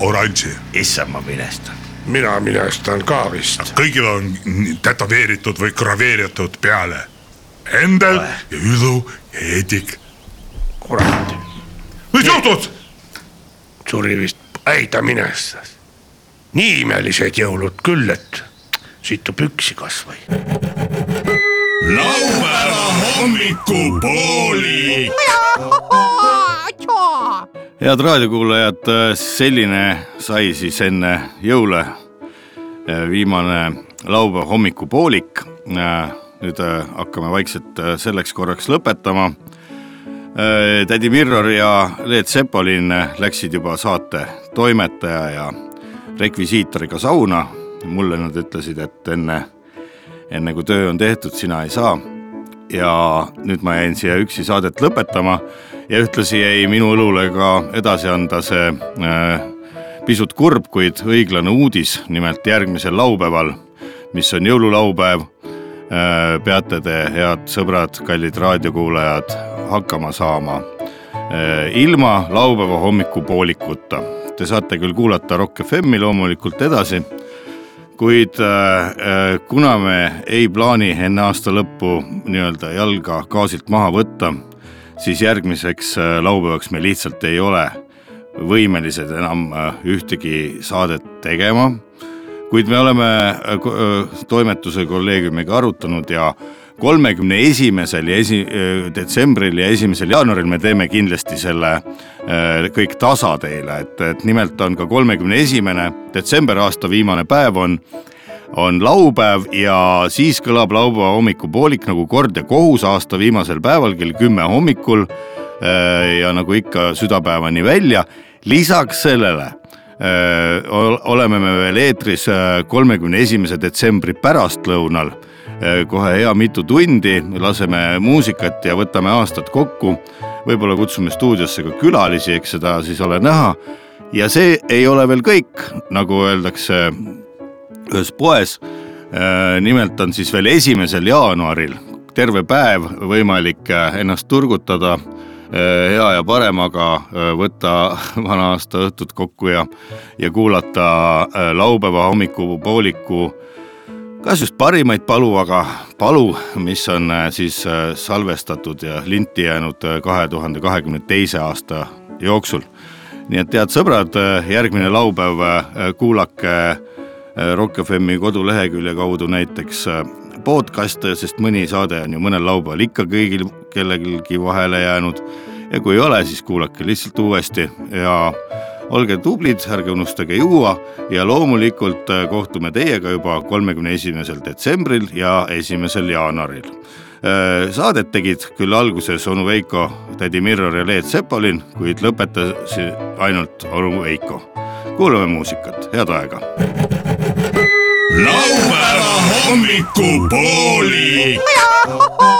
Speaker 5: oranži . issand , ma minestan .
Speaker 8: mina minestan ka vist .
Speaker 5: kõigil on n- tätoveeritud või graveeritud peale . Endel ja Ülu ja Eedik .
Speaker 8: kurat .
Speaker 5: mis juhtus ?
Speaker 8: suri vist , ei ta minestas . nii imelised jõulud küll , et siit tuleb üksi kasvõi .
Speaker 1: laupäeva hommikupooli .
Speaker 4: head raadiokuulajad , selline sai siis enne jõule äh, viimane laupäeva hommikupoolik . nüüd äh, hakkame vaikselt äh, selleks korraks lõpetama . tädi Mirror ja Leet Sepolin äh, läksid juba saate toimetaja ja rekvisiitoriga sauna . mulle nad ütlesid , et enne , enne kui töö on tehtud , sina ei saa ja nüüd ma jäin siia üksi saadet lõpetama ja ühtlasi jäi minu õlule ka edasi anda see äh, pisut kurb , kuid õiglane uudis , nimelt järgmisel laupäeval , mis on jõululaupäev äh, , peate te , head sõbrad , kallid raadiokuulajad , hakkama saama äh, ilma laupäeva hommikupoolikuta . Te saate küll kuulata Rock FM-i loomulikult edasi kuid äh, äh, kuna me ei plaani enne aasta lõppu nii-öelda jalga gaasilt maha võtta , siis järgmiseks äh, laupäevaks me lihtsalt ei ole võimelised enam äh, ühtegi saadet tegema . kuid me oleme äh, ko- äh, toimetuse kolleegiumiga arutanud ja kolmekümne esimesel ja esi- , detsembril ja esimesel jaanuaril me teeme kindlasti selle äh, kõik tasa teile , et , et nimelt on ka kolmekümne esimene detsember aasta viimane päev on , on laupäev ja siis kõlab laupäeva hommikupoolik nagu kord ja kohus aasta viimasel päeval kell kümme hommikul äh, ja nagu ikka südapäevani välja. lisaks sellele äh, ol- oleme me veel eetris äh, kolmekümne esimese detsembri pärastlõunal äh, kohe hea mitu tundi , laseme muusikat ja võtame aastad kokku . võib-olla kutsume stuudiosse ka külalisi , eks seda siis ole näha . ja see ei ole veel kõik , nagu öeldakse ühes poes . nimelt on siis veel esimesel jaanuaril terve päev võimalik äh, ennast turgutada äh, hea ja paremaga , võtta <laughs> vana aasta õhtud kokku ja , ja kuulata äh, laupäeva hommikupooliku kas just parimaid palu , aga palu , mis on äh, siis äh, salvestatud ja linti jäänud äh, kahe tuhande kahekümne teise aasta jooksul . nii et head sõbrad , järgmine laupäev äh, kuulake äh, Rock FM-i kodulehekülje kaudu näiteks äh, podcast'e , sest mõni saade on ju mõnel laupäeval ikka kõigil kellelgi vahele jäänud . ja kui ei ole , siis kuulake lihtsalt uuesti ja olge tublid , ärge unustage juua ja loomulikult äh, kohtume teiega juba kolmekümne esimesel detsembril ja esimesel jaanuaril . Saadet tegid küll alguses onu Veiko , tädi Mirror ja Leet Sepolin , kuid lõpetas ainult onu Veiko . kuulame muusikat , head aega .
Speaker 6: laupäeva hommikupoolik .